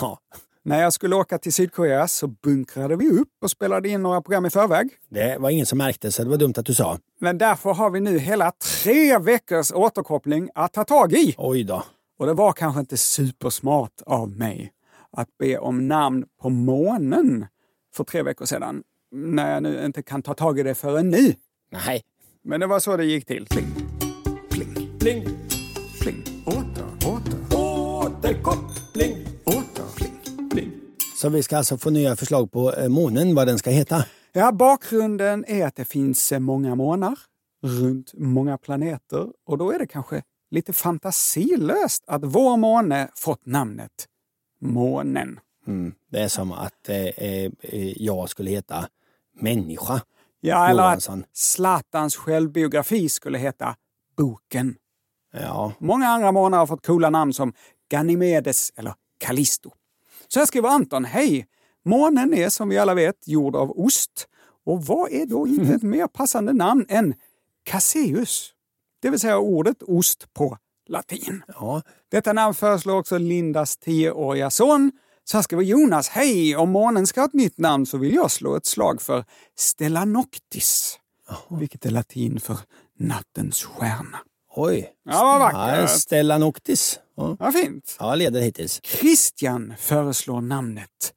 Speaker 2: Ja,
Speaker 3: När jag skulle åka till Sydkorea så bunkrade vi upp och spelade in några program i förväg.
Speaker 2: det var ingen som märkte, så det var dumt att du sa.
Speaker 3: Men därför har vi nu hela tre veckors återkoppling att ta tag i.
Speaker 2: Oj då.
Speaker 3: Och det var kanske inte supersmart av mig att be om namn på månen för tre veckor sedan. När jag nu inte kan ta tag i det förrän nu.
Speaker 2: Nej.
Speaker 3: Men det var så det gick till. Pling, pling,
Speaker 2: Pling,
Speaker 3: pling. Åter, åter,
Speaker 2: återkoppling.
Speaker 3: åter, pling, pling.
Speaker 2: Så vi ska alltså få nya förslag på eh, månen, vad den ska heta.
Speaker 3: Ja, bakgrunden är att det finns eh, många månar runt många planeter och då är det kanske lite fantasilöst att vår måne fått namnet månen.
Speaker 2: Mm. Det är som att eh, eh, jag skulle heta människa.
Speaker 3: Ja, eller att
Speaker 2: Johansson.
Speaker 3: Zlatans självbiografi skulle heta Boken.
Speaker 2: Ja,
Speaker 3: Många andra månar har fått coola namn som Ganymedes eller Callisto. Så här skriver Anton, hej! Månen är som vi alla vet gjord av ost. Och vad är då inte ett mer passande namn än Caseus? Det vill säga ordet ost på latin.
Speaker 2: ja.
Speaker 3: Detta namn föreslår också Lindas tioåriga son. Så här skriver Jonas, hej! Om månen ska ha ett nytt namn så vill jag slå ett slag för Stellanoctis. Vilket är latin för nattens stjärna.
Speaker 2: Oj.
Speaker 3: Ja, vad vackert.
Speaker 2: Ja, Stellan Oktis. Ja.
Speaker 3: Vad fint!
Speaker 2: ja, leder hittills.
Speaker 3: Christian föreslår namnet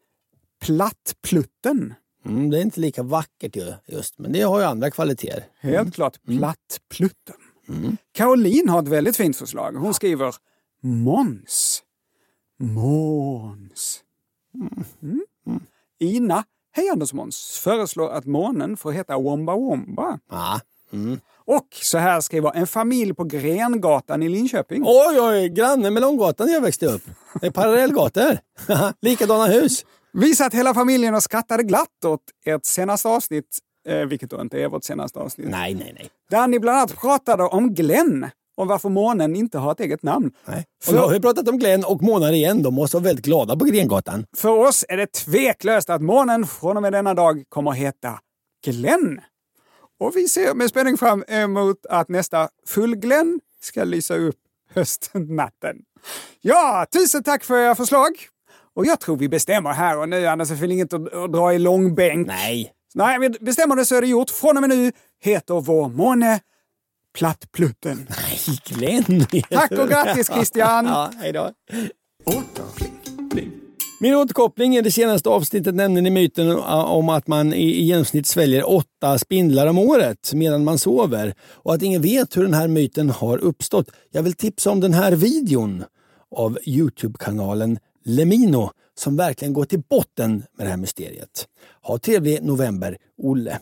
Speaker 3: Plattplutten.
Speaker 2: Mm, det är inte lika vackert ju, just, men det har ju andra kvaliteter.
Speaker 3: Helt klart Mm. Plattplutten. Caroline har ett väldigt fint förslag. Hon skriver Måns. Måns. Mm. Ina, hej Anders Måns, föreslår att månen får heta Womba Womba.
Speaker 2: Ja. Mm.
Speaker 3: Och så här skriver en familj på Grengatan i Linköping.
Speaker 2: Oj, oj, granne med Långgatan där jag växte upp. Det är parallellgator. Likadana hus.
Speaker 3: Vi satt hela familjen och skrattade glatt åt ert senaste avsnitt, eh, vilket då inte är vårt senaste avsnitt.
Speaker 2: Nej, nej, nej.
Speaker 3: Där ni bland annat pratade om Glenn och varför månen inte har ett eget namn.
Speaker 2: nej. Och nu har
Speaker 3: För,
Speaker 2: vi pratat om Glenn och månar igen. De måste vara väldigt glada på Grengatan.
Speaker 3: för oss är det tveklöst att månen från och med denna dag kommer att heta Glenn. Och vi ser med spänning fram emot att nästa full Glenn ska lysa upp höstnatten. Ja, tusen tack för era förslag! Och jag tror vi bestämmer här och nu, annars är det inget att att dra i långbänk.
Speaker 2: Nej.
Speaker 3: Nej, men bestämmer det så är det gjort. Från och med nu heter vår måne Plattplutten.
Speaker 2: Nej, Glenn.
Speaker 3: Tack och grattis Christian!
Speaker 2: Ja, hej då. Min återkoppling är det senaste avsnittet nämnde ni myten ä, om att man i, i genomsnitt sväljer åtta spindlar om året medan man sover och att ingen vet hur den här myten har uppstått. Jag vill tipsa om den här videon av Youtube-kanalen Lemino som verkligen går till botten med det här mysteriet. Ha trevlig november, Olle.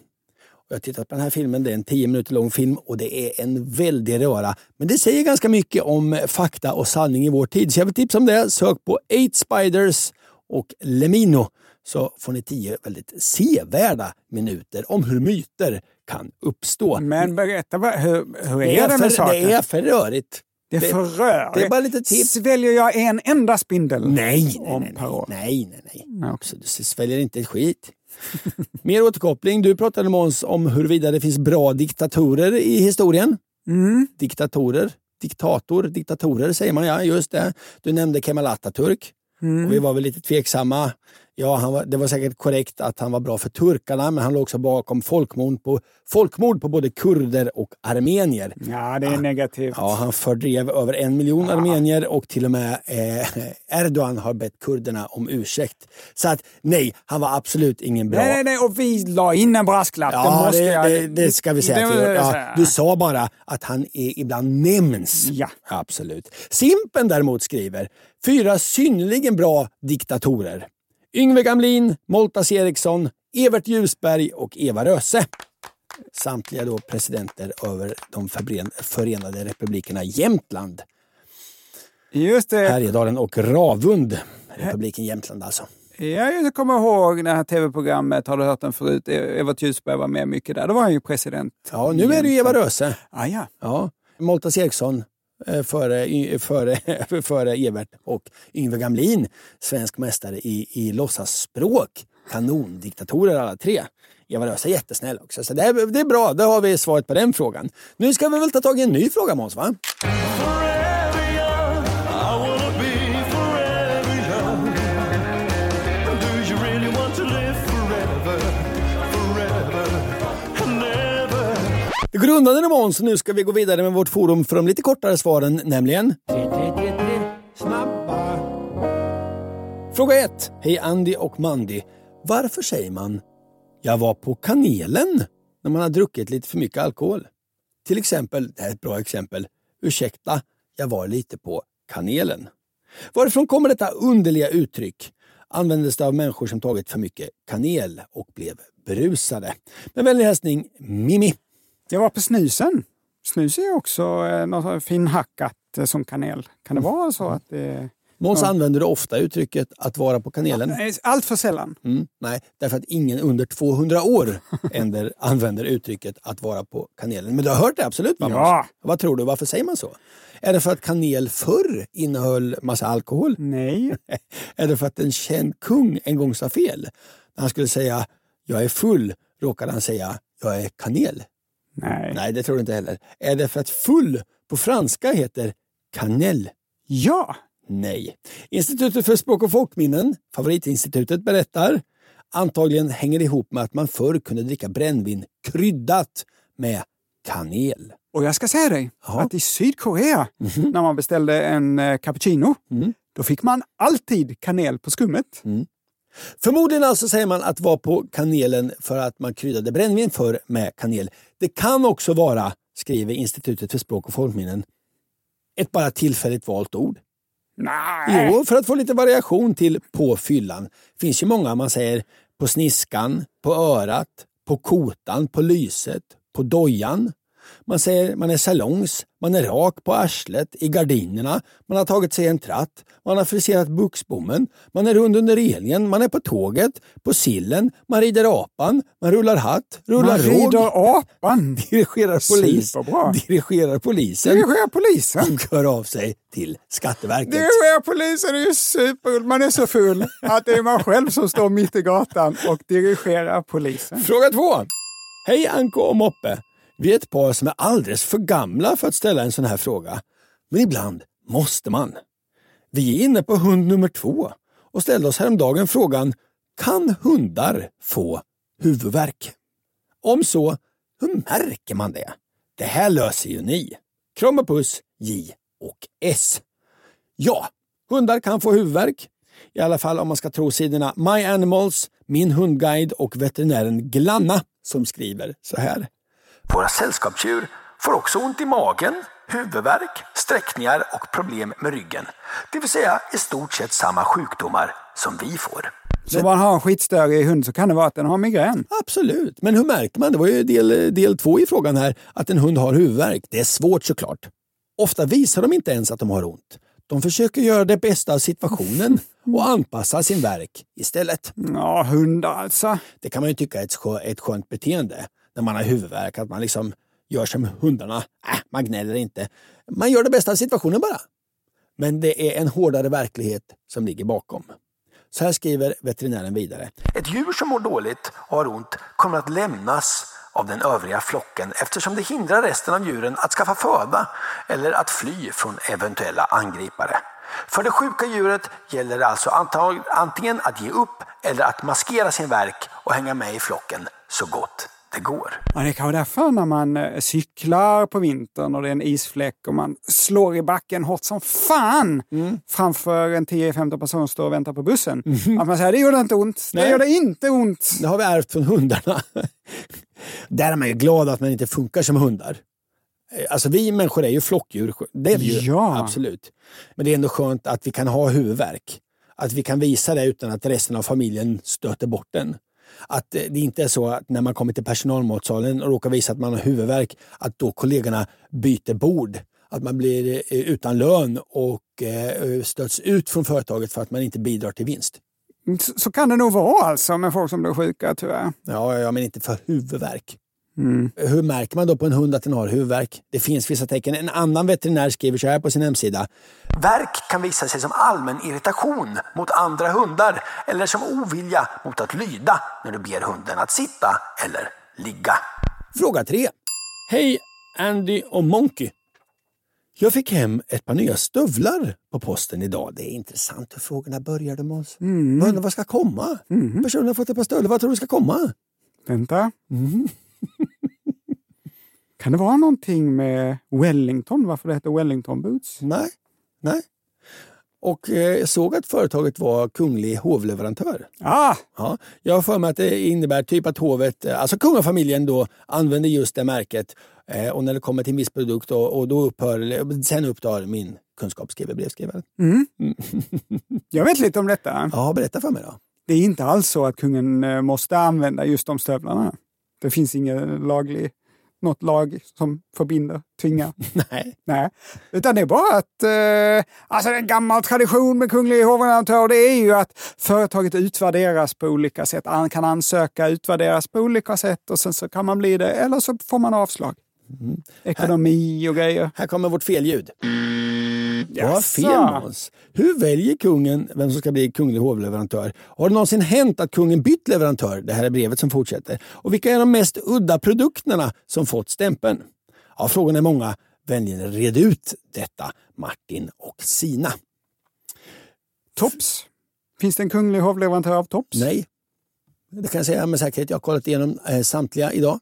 Speaker 2: Och Jag har tittat på den här filmen, det är en 10 minuter lång film och det är en väldig röra. Men det säger ganska mycket om fakta och sanning i vår tid. Så jag vill tipsa om det. Sök på 8 Spiders och Lemino så får ni 10 väldigt sevärda minuter om hur myter kan uppstå.
Speaker 3: Men berätta, vad- hur, hur
Speaker 2: Mm. det,
Speaker 3: är det
Speaker 2: är
Speaker 3: med
Speaker 2: för,
Speaker 3: saken?
Speaker 2: det är för rörigt.
Speaker 3: det är för rörigt.
Speaker 2: det är bara lite tips.
Speaker 3: Sväljer jag en enda spindel?
Speaker 2: Nej, nej,
Speaker 3: Om
Speaker 2: nej,
Speaker 3: per år.
Speaker 2: nej, nej, nej.
Speaker 3: Nej, okej.
Speaker 2: Så du sväljer inte ett skit. Mer återkoppling. Du pratade Måns om huruvida det finns bra diktatorer i historien.
Speaker 3: Mm.
Speaker 2: Diktatorer. diktator, diktatorer säger man ja, just det. Du nämnde Kemal Atatürk.
Speaker 3: Mm.
Speaker 2: Och vi var väl lite tveksamma. Ja, han var, det var säkert korrekt att han var bra för turkarna, men han låg också bakom folkmord på, folkmord på både kurder och armenier.
Speaker 3: Ja, det är negativt.
Speaker 2: Ah. Ja, han fördrev över en miljon armenier och till och med eh, Erdogan har bett kurderna om ursäkt. Så att nej, han var absolut ingen bra.
Speaker 3: Nej, nej, nej, och vi la in en brasklapp.
Speaker 2: Ja,
Speaker 3: måste
Speaker 2: det,
Speaker 3: jag-
Speaker 2: det, det ska vi säga.
Speaker 3: Det
Speaker 2: att vi
Speaker 3: vill
Speaker 2: gör.
Speaker 3: jag
Speaker 2: ja,
Speaker 3: säga.
Speaker 2: du sa bara att han är ibland nämns.
Speaker 3: Ja.
Speaker 2: Absolut. Simpen däremot skriver fyra synnerligen bra diktatorer. Yngve Gamlin, Moltas Eriksson, Evert Ljusberg och Eva Röse. Samtliga då presidenter över de förbren- förenade republikerna Jämtland,
Speaker 3: Just det.
Speaker 2: Härjedalen och Ravund. Republiken Jämtland alltså.
Speaker 3: Ja, jag kommer ihåg det här tv-programmet, har du hört den förut? Evert Ljusberg var med mycket där. Då var han ju president.
Speaker 2: Ja, nu är det ju Eva Röse.
Speaker 3: Ah, ja.
Speaker 2: Ja. Moltas Eriksson eh, före, y- före, före Evert och Yngve Gamlin, svensk mästare i, i låtsasspråk. Kanondiktatorer alla tre. Eva Röse är jättesnäll också, så det är, det är bra. Då har vi svaret på den frågan. Nu ska vi väl ta tag i en ny fråga Måns, va?
Speaker 12: I wanna be forever young. Do you really want to live forever? Forever and ever.
Speaker 2: Det går undan nu Måns, nu ska vi gå vidare med vårt forum för de lite kortare svaren, nämligen Fråga 1. Hej Andy och Mandy. Varför säger man “Jag var på kanelen” när man har druckit lite för mycket alkohol? Till exempel, det här är ett bra exempel, “Ursäkta, jag var lite på kanelen”. Varifrån kommer detta underliga uttryck? Användes det av människor som tagit för mycket kanel och blev berusade? Med vänlig hälsning Mimi.
Speaker 3: Jag var på snusen. Snus är också eh, något finhackat eh, som kanel. Kan det vara så att det...
Speaker 2: Måns,
Speaker 3: Ja.
Speaker 2: använder du ofta uttrycket “att vara på kanelen”?
Speaker 3: Nej, Allt för sällan.
Speaker 2: Mm, nej, därför att ingen under 200 år änder, använder uttrycket att vara på kanelen. Men du har hört det absolut? Va, Måns?
Speaker 3: Ja.
Speaker 2: Vad tror du? Varför säger man så? Är det för att kanel förr innehöll massa alkohol?
Speaker 3: Nej.
Speaker 2: är det för att en känd kung en gång sa fel? När han skulle säga “jag är full” råkade han säga “jag är kanel”.
Speaker 3: Nej.
Speaker 2: Nej, det tror du inte heller. Är det för att full på franska heter kanel?
Speaker 3: Ja.
Speaker 2: Nej. Institutet för språk och folkminnen, favoritinstitutet, berättar antagligen hänger det ihop med att man förr kunde dricka brännvin kryddat med kanel.
Speaker 3: Och jag ska säga dig att i Sydkorea, när man beställde en eh, cappuccino, då fick man alltid kanel på skummet.
Speaker 2: Förmodligen alltså säger man att vara på kanelen för att man kryddade brännvin förr med kanel. Det kan också vara, skriver Institutet för språk och folkminnen, ett bara tillfälligt valt ord.
Speaker 3: Nej.
Speaker 2: Jo, för att få lite variation till på fyllan. finns ju många man säger på sniskan, på örat, på kotan, på lyset, på dojan. Man säger man är salongs, man är rak på arslet, i gardinerna, man har tagit sig en tratt, man har friserat buxbommen, man är rund under relingen, man är på tåget, på sillen, man rider apan, man rullar hatt, rullar
Speaker 3: Man
Speaker 2: råg.
Speaker 3: rider apan.
Speaker 2: Dirigerar, polis,
Speaker 3: Superbra.
Speaker 2: dirigerar polisen.
Speaker 3: Dirigerar polisen.
Speaker 2: Och hör av sig till Skatteverket.
Speaker 3: Det är polisen är ju super... Man är så full att det är man själv som står mitt i gatan och dirigerar polisen.
Speaker 2: Fråga två. Hej Anko och Moppe. Vi är ett par som är alldeles för gamla för att ställa en sån här fråga. Men ibland måste man. Vi är inne på hund nummer två och ställde oss häromdagen frågan Kan hundar få huvudvärk? Om så, hur märker man det? Det här löser ju ni. Kram och puss, J och S. Ja, hundar kan få huvudvärk. I alla fall om man ska tro sidorna My Animals, Min hundguide och veterinären Glanna som skriver så här. Våra sällskapsdjur får också ont i magen, huvudvärk, sträckningar och problem med ryggen. Det vill säga i stort sett samma sjukdomar som vi får.
Speaker 3: Så om man har en skitstörig hund så kan det vara att den har migrän.
Speaker 2: Absolut, men hur märker man? Det var ju del, del två i frågan här, att en hund har huvudvärk. Det är svårt såklart. Ofta visar de inte ens att de har ont. De försöker göra det bästa av situationen och anpassa sin värk istället.
Speaker 3: Ja, hundar alltså.
Speaker 2: Det kan man ju tycka är ett, skö, ett skönt beteende när man har huvudvärk, att man liksom gör som hundarna. Äh, man gnäller inte. Man gör det bästa av situationen bara. Men det är en hårdare verklighet som ligger bakom. Så här skriver veterinären vidare. Ett djur som mår dåligt och har ont kommer att lämnas
Speaker 13: av den övriga flocken eftersom det hindrar resten av djuren att skaffa föda eller att fly från eventuella angripare. För det sjuka djuret gäller det alltså antag- antingen att ge upp eller att maskera sin verk och hänga med i flocken så gott det går.
Speaker 3: Ja, det kan vara därför när man eh, cyklar på vintern och det är en isfläck och man slår i backen hårt som fan framför en 10-15 personer står och väntar på bussen. Att man säger det gjorde inte ont, det
Speaker 2: Nej.
Speaker 3: gjorde inte ont.
Speaker 2: Det har vi ärvt från hundarna. Där är man ju glad att man inte funkar som hundar. Eh, Alltså vi människor är ju flockdjur. Det är vi ju.
Speaker 3: Ja.
Speaker 2: Absolut. Men det är ändå skönt att vi kan ha huvudvärk. Att vi kan visa det utan att resten av familjen stöter bort den. Att eh, det inte är så att när man kommer till personalmatsalen och råkar visa att man har huvudvärk, att då kollegorna byter bord. Att man blir eh, utan lön och eh, stöts ut från företaget för att man inte bidrar till vinst.
Speaker 3: Så- Så kan det nog vara alltså med folk som blir sjuka tyvärr.
Speaker 2: Ja, ja, ja, men inte för huvudvärk. Hur märker man då på en hund att den har huvudvärk? Det finns vissa tecken. En annan veterinär skriver så här på sin hemsida.
Speaker 13: Verk kan visa sig som allmän irritation mot andra hundar eller som ovilja mot att lyda när du ber hunden att sitta eller ligga.
Speaker 2: Fråga tre. Hej Andy och Monkey. Jag fick hem ett par nya stövlar på posten idag. Det är intressant hur frågorna började Måns. Jag undrar vad ska komma? Personen har fått ett par stövlar. Vad tror du ska komma?
Speaker 3: Vänta. kan det vara någonting med Wellington, varför det heter Wellington Boots?
Speaker 2: Nej. Nej. Och eh, jag såg att företaget var kunglig hovleverantör.
Speaker 3: Ah!
Speaker 2: Ja, jag har för mig att det innebär typ att hovet, eh, alltså kungafamiljen då, använder just det märket. Eh, och när det kommer till en viss produkt och, och då upphör, eller, sen upptar min kunskap, skriver brevskrivaren.
Speaker 3: Mm. Jag vet lite om detta.
Speaker 2: Ja, berätta för mig då.
Speaker 3: Det är inte alls så att kungen eh, måste använda just de stövlarna. Det finns ingen laglig, något lag som förbinder, tvingar.
Speaker 2: Nej.
Speaker 3: Nej, utan det är bara att... Eh, alltså en gammal tradition med kunglig hovleverantör det är ju att företaget utvärderas på olika sätt. Man kan ansöka, utvärderas på olika sätt och sen så kan man bli det eller så får man avslag. Ekonomi och grejer.
Speaker 2: Här kommer vårt felljud. Vad
Speaker 3: Jaså.
Speaker 2: fel Måns. Hur väljer kungen vem som ska bli kunglig hovleverantör? Har det någonsin hänt att kungen bytt leverantör? Det här är brevet som fortsätter. Och vilka är de mest udda produkterna som fått stämpeln? Ja, frågorna är många. Vänligen red ut detta, Martin och Sina.
Speaker 3: Tops. Finns det en kunglig hovleverantör av Tops?
Speaker 2: Nej. Det kan jag säga med säkerhet. Jag har kollat igenom eh, samtliga idag.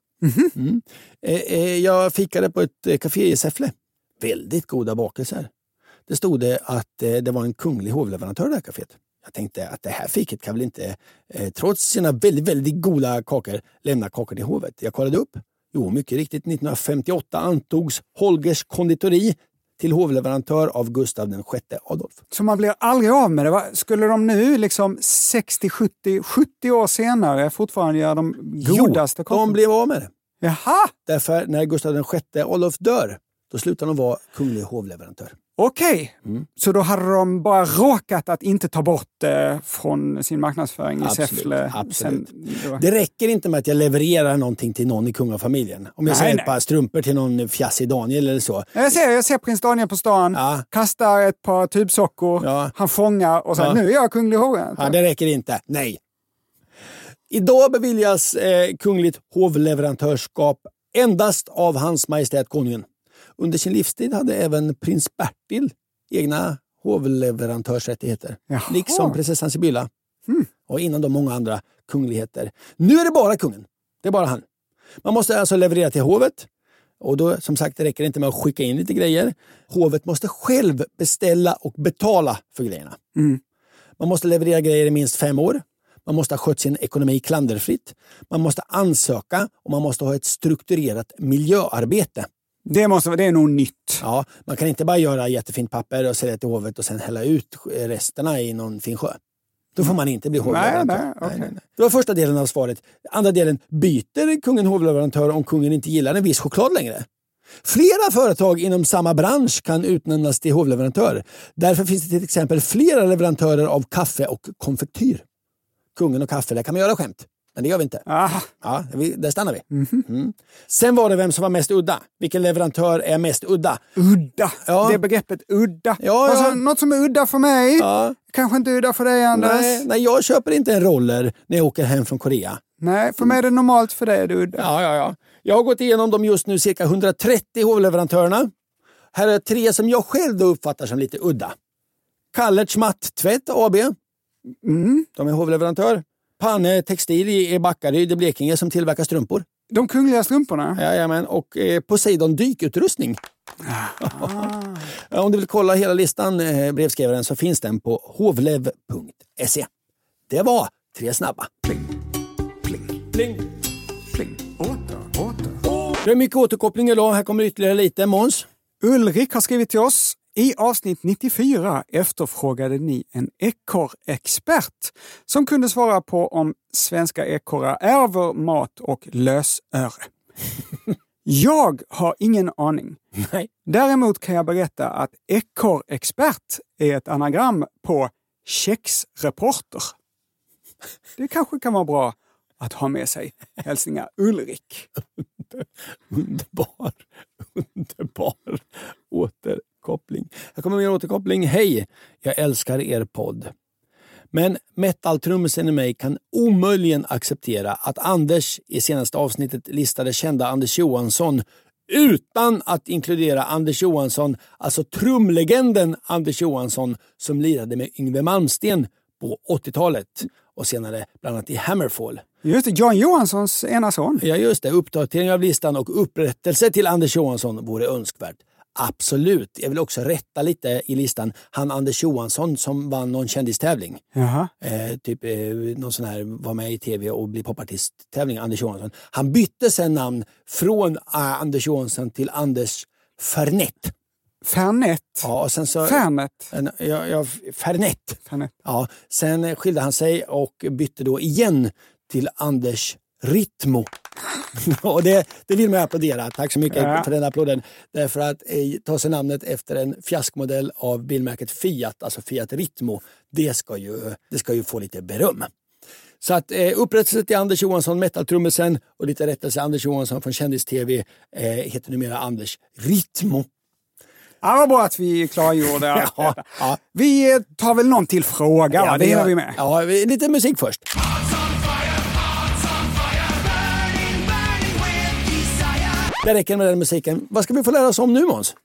Speaker 2: Mm. Eh, eh, jag fikade på ett eh, café i Säffle. Väldigt goda bakelser. Det stod det att eh, det var en kunglig hovleverantör i det här caféet. Jag tänkte att det här fiket kan väl inte, eh, trots sina väldigt, väldigt goda kakor, lämna kakor till hovet. Jag kollade upp. Jo, mycket riktigt. 1958 antogs Holgers konditori till hovleverantör av Gustav den sjätte Adolf.
Speaker 3: Så man blir aldrig av med det. Va? Skulle de nu, liksom 60, 70, 70 år senare, fortfarande göra de godaste
Speaker 2: jo, de
Speaker 3: kockarna?
Speaker 2: blev av med det.
Speaker 3: Jaha!
Speaker 2: Därför när Gustav VI Adolf dör, då slutar de vara kunglig hovleverantör.
Speaker 3: Okej,
Speaker 2: Mm.
Speaker 3: så då hade de bara råkat att inte ta bort det från sin marknadsföring i
Speaker 2: Absolut,
Speaker 3: Säffle.
Speaker 2: absolut.
Speaker 3: då-
Speaker 2: Det räcker inte med att jag levererar någonting till någon i kungafamiljen. Om jag
Speaker 3: Nej,
Speaker 2: säger
Speaker 3: nej.
Speaker 2: ett par strumpor till någon fjassig Daniel eller så.
Speaker 3: jag, ser, jag ser prins Daniel på stan,
Speaker 2: Ja.
Speaker 3: kastar ett par tubsockor,
Speaker 2: Ja.
Speaker 3: han fångar och säger
Speaker 2: Ja.
Speaker 3: nu är jag kunglig hovrätt.
Speaker 2: Ja, det räcker inte. Nej. Idag beviljas eh, kungligt hovleverantörskap endast av Hans Majestät Konungen. Under sin livstid hade även prins Bertil egna hovleverantörsrättigheter.
Speaker 3: Jaha.
Speaker 2: Liksom prinsessan Sibylla. Och innan de många andra kungligheter. Nu är det bara kungen. Det är bara han. Man måste alltså leverera till hovet. Och då, som sagt, det räcker inte med att skicka in lite grejer. Hovet måste själv beställa och betala för grejerna. Man måste leverera grejer i minst fem år. Man måste ha skött sin ekonomi klanderfritt. Man måste ansöka och man måste ha ett strukturerat miljöarbete.
Speaker 3: Det, måste, vara- det är nog nytt.
Speaker 2: Ja, man kan inte bara göra jättefint papper och sälja till hovet och sen hälla ut resterna i någon fin sjö. Då får man inte bli hovleverantör.
Speaker 3: Nej, nej, okej.
Speaker 2: Det var första delen av svaret. Andra delen, byter kungen hovleverantör om kungen inte gillar en viss choklad längre? Flera företag inom samma bransch kan utnämnas till hovleverantör. Därför finns det till exempel flera leverantörer av kaffe och konfektyr. Kungen och kaffe, där kan man göra skämt. Men det gör vi inte.
Speaker 3: Ah,
Speaker 2: Ja, vi, där stannar vi.
Speaker 3: Mhm.
Speaker 2: Mm. Sen var det vem som var mest udda. Vilken leverantör är mest udda?
Speaker 3: udda,
Speaker 2: Ja.
Speaker 3: det är begreppet udda.
Speaker 2: Ja,
Speaker 3: alltså,
Speaker 2: ja.
Speaker 3: Något som är udda för mig,
Speaker 2: Ja.
Speaker 3: kanske inte udda för dig Anders.
Speaker 2: Nej, nej, jag köper inte en roller när jag åker hem från Korea.
Speaker 3: Nej, för mig är det normalt för dig, du.
Speaker 2: Ja, ja, ja. Jag har gått igenom de just nu cirka 130 hovleverantörerna. Här är tre som jag själv då uppfattar som lite udda. Kallerts Matt-tvätt AB. De är hovleverantör. Panne Textil i i Backaryd i Blekinge som tillverkar strumpor.
Speaker 3: De kungliga strumporna?
Speaker 2: Jajamän, och eh, Poseidon dykutrustning. Ah. Om du vill kolla hela listan, eh, brevskrivaren, så finns den på hovlev.se. E. Det var tre snabba. Pling.
Speaker 3: Pling. Åter, åter.
Speaker 2: Det är mycket återkoppling idag. Här kommer ytterligare lite. Måns?
Speaker 3: Ulrik har skrivit till oss. I avsnitt 94 efterfrågade ni en ekorrexpert som kunde svara på om svenska ekorrar ärver mat och lösöre. Jag har ingen aning.
Speaker 2: Nej.
Speaker 3: Däremot kan jag berätta att ekorrexpert är ett anagram på kexreporter. Det kanske kan vara bra att ha med sig. Hälsningar Ulrik.
Speaker 2: Underbar, underbar återkoppling. Här kommer mer återkoppling. Hej! Jag älskar er podd. Men metaltrummisen i mig kan omöjligen acceptera att Anders i senaste avsnittet listade kända Anders Johansson utan att inkludera Anders Johansson, alltså trumlegenden Anders Johansson som lirade med Yngwie Malmsteen på 80-talet och senare bland annat i Hammerfall.
Speaker 3: Just det, Jan Johanssons ena son.
Speaker 2: Ja, just det. Uppdatering av listan och upprättelse till Anders Johansson vore önskvärt. Absolut. Jag vill också rätta lite i listan. Han Anders Johansson som vann någon kändistävling.
Speaker 3: Jaha.
Speaker 2: Eh, typ eh, någon sån här, var med i tv och blev popartist-tävling, Anders Johansson. Han bytte sen namn från eh, Anders Johansson till Anders Fernet.
Speaker 3: Fernet.
Speaker 2: Ja, och sen så...
Speaker 3: Fernet.
Speaker 2: En- Ja, ja, Fernet.
Speaker 3: Fernet.
Speaker 2: Ja, sen eh, skilde han sig och bytte då igen till Anders Ritmo. och det, det vill man ju applådera. Tack så mycket
Speaker 3: Ja.
Speaker 2: för den applåden. Därför att eh, ta sig namnet efter en fiaskmodell av bilmärket Fiat, alltså Fiat Ritmo, det ska ju, det ska ju få lite beröm. Så att eh, upprättelse till Anders Johansson, metaltrummisen och lite rättelse Anders Johansson från Kändis-TV eh, heter numera Anders Ritmo.
Speaker 3: Ja, vad bra att vi klargjorde allt
Speaker 2: Ja,
Speaker 3: detta.
Speaker 2: ja.
Speaker 3: Vi eh, tar väl någon till fråga, va? det hinner vi med.
Speaker 2: Ja, vi- lite musik först. Det räcker med den musiken. Vad ska vi få lära oss om nu Måns?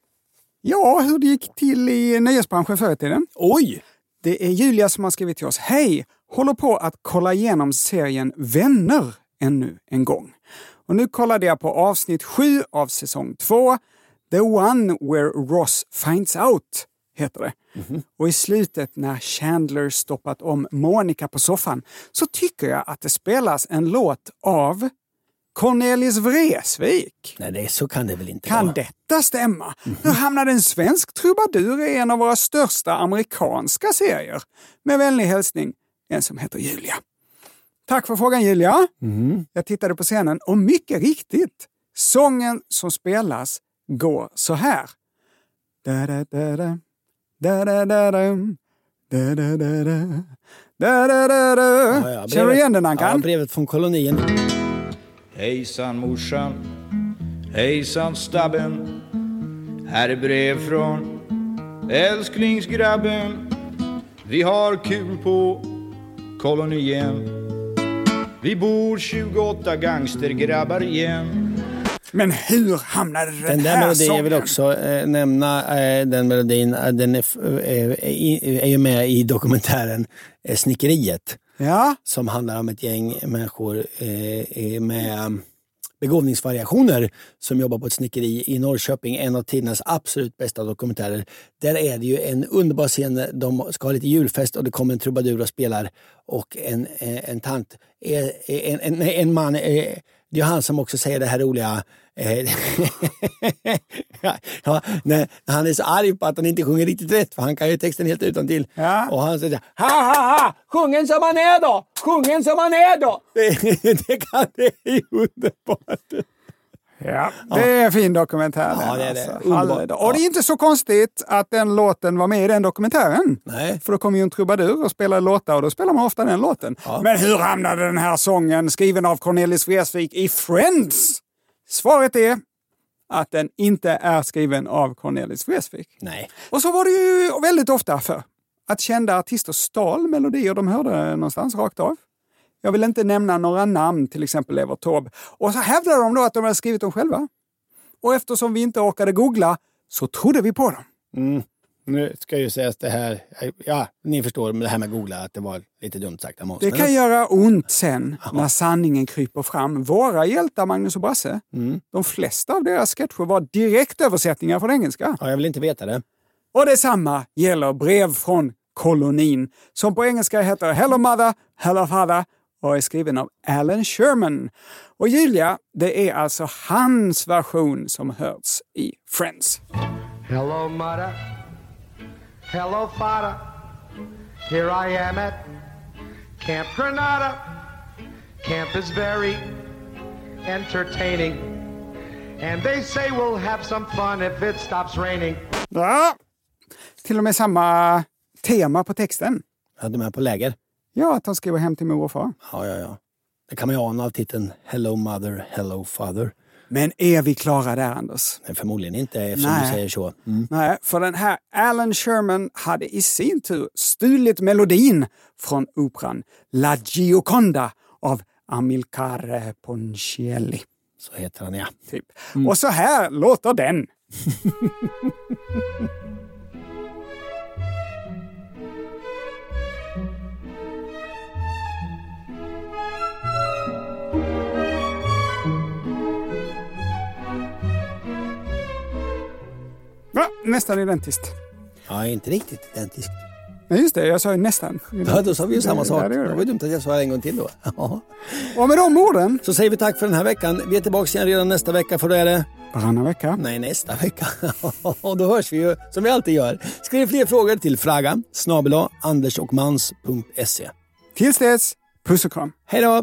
Speaker 3: Ja, hur det gick till i nöjesbranschen förr i tiden.
Speaker 2: Oj!
Speaker 3: Det är Julia som har skrivit till oss. Hej! Håller på att kolla igenom serien Vänner ännu en gång. Och nu kollade jag på avsnitt 7 av säsong 2. The one where Ross finds out, heter det. Och i slutet när Chandler stoppat om Monica på soffan så tycker jag att det spelas en låt av Cornelis Vreeswijk.
Speaker 2: Nej, det, så kan det väl inte
Speaker 3: Kan
Speaker 2: vara?
Speaker 3: detta stämma? Hur hamnade en svensk trubadur i en av våra största amerikanska serier? Med vänlig hälsning, en som heter Julia. Tack för frågan Julia.
Speaker 2: Mm.
Speaker 3: Jag tittade på scenen och mycket riktigt, sången som spelas går så här. Da-da-da-da, da-da-da-dum, da-da-da-da, da-da-da-da.
Speaker 2: Ja, ja, brevet-
Speaker 3: Känner du igen den
Speaker 2: Ja,
Speaker 3: Ankan?
Speaker 2: brevet från kolonin.
Speaker 14: Hejsan morsan, hejsan stabben. Här är brev från älsklingsgrabben. Vi har kul på kolonien. Vi bor 28 gangstergrabbar igen.
Speaker 3: Men hur hamnade den,
Speaker 2: Den där
Speaker 3: här
Speaker 2: melodin, jag
Speaker 3: sången?
Speaker 2: vill också eh, nämna eh, den melodin, eh, den är, f- eh, i- är ju med i dokumentären eh, Snickeriet.
Speaker 3: Ja.
Speaker 2: som handlar om ett gäng människor eh, eh, med begåvningsvariationer som jobbar på ett snickeri i Norrköping, en av tidernas absolut bästa dokumentärer. Där är det ju en underbar scen, när de ska ha lite julfest och det kommer en trubadur och spelar och en, eh, en tant, eh, en, en, en man, eh, det är han som också säger det här roliga eh, ja, när han är så arg på att han inte sjunger riktigt rätt för han kan ju texten helt utan till.
Speaker 3: Ja.
Speaker 2: Och han säger ha ha ha, sjungen som man är då, sjungen som man är då. Det, det, kan, det är ju underbart.
Speaker 3: Ja, det är en fin dokumentär. den,
Speaker 2: Ja, det är det.
Speaker 3: Alltså.
Speaker 2: Underbart.
Speaker 3: Halvdag. Och det är inte så konstigt att den låten var med i den dokumentären.
Speaker 2: Nej.
Speaker 3: För då kom ju en trubadur och spelade låtar och då spelar man ofta den låten. Men hur hamnade den här sången, skriven av Cornelis Vreeswijk, i Friends? Svaret är att den inte är skriven av Cornelis Vreeswijk.
Speaker 2: Nej.
Speaker 3: Och så var det ju väldigt ofta för att kända artister stal melodier de hörde någonstans rakt av. Jag vill inte nämna några namn, till exempel Evert Taube. Och så hävdade de då att de hade skrivit dem själva. Och eftersom vi inte orkade googla så trodde vi på dem.
Speaker 2: Mm. Nu ska ju sägas det här, ja, ni förstår men det här med googla, att det var lite dumt sagt av oss.
Speaker 3: Det kan
Speaker 2: men-
Speaker 3: göra ont sen när sanningen kryper fram. Våra hjältar Magnus och Brasse,
Speaker 2: Mm.
Speaker 3: de flesta av deras sketcher var direktöversättningar från engelska.
Speaker 2: Ja, jag vill inte veta det.
Speaker 3: Och detsamma gäller brev från kolonin, som på engelska heter Hello Mother, Hello Father och är skriven av Alan Sherman. Och Julia, det är alltså hans version som hörts i Friends.
Speaker 15: Hello, Mother. Hello, Father. Here I am at Camp Granada. Camp is very entertaining. And they say we'll have some fun if it stops raining.
Speaker 3: Ja, till och med samma tema på texten.
Speaker 2: Ja, de är på läger.
Speaker 3: Ja, att de skriver hem till mor och far.
Speaker 2: Ja, ja, ja. Det kan man ju ana av titeln Hello Mother, Hello Father.
Speaker 3: Men är vi klara där, Anders?
Speaker 2: Nej, förmodligen inte, eftersom
Speaker 3: Nej.
Speaker 2: du säger så. Mm.
Speaker 3: Nej, för den här Alan Sherman hade i sin tur stulit melodin från operan La Gioconda av Amilcare Ponchielli.
Speaker 2: Så heter han, ja.
Speaker 3: Typ. Och så här låter den. Va? Nästan identiskt.
Speaker 2: Ja, inte riktigt identiskt.
Speaker 3: Nej, just det. Jag sa ju nästan.
Speaker 2: Ja, då sa vi ju samma
Speaker 3: Det-
Speaker 2: sak.
Speaker 3: där är
Speaker 2: Det var ju dumt att jag sa det en gång till då. Ja.
Speaker 3: Och med de orden.
Speaker 2: Så säger vi tack för den här veckan. Vi är tillbaka igen redan nästa vecka, för då är det...
Speaker 3: Varannan vecka.
Speaker 2: Nej, nästa vecka. och då hörs vi ju, som vi alltid gör. Skriv fler frågor till fraga snabel-a, andersochmans.se.
Speaker 3: Tills dess, puss och kram.
Speaker 2: Hej då!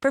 Speaker 16: for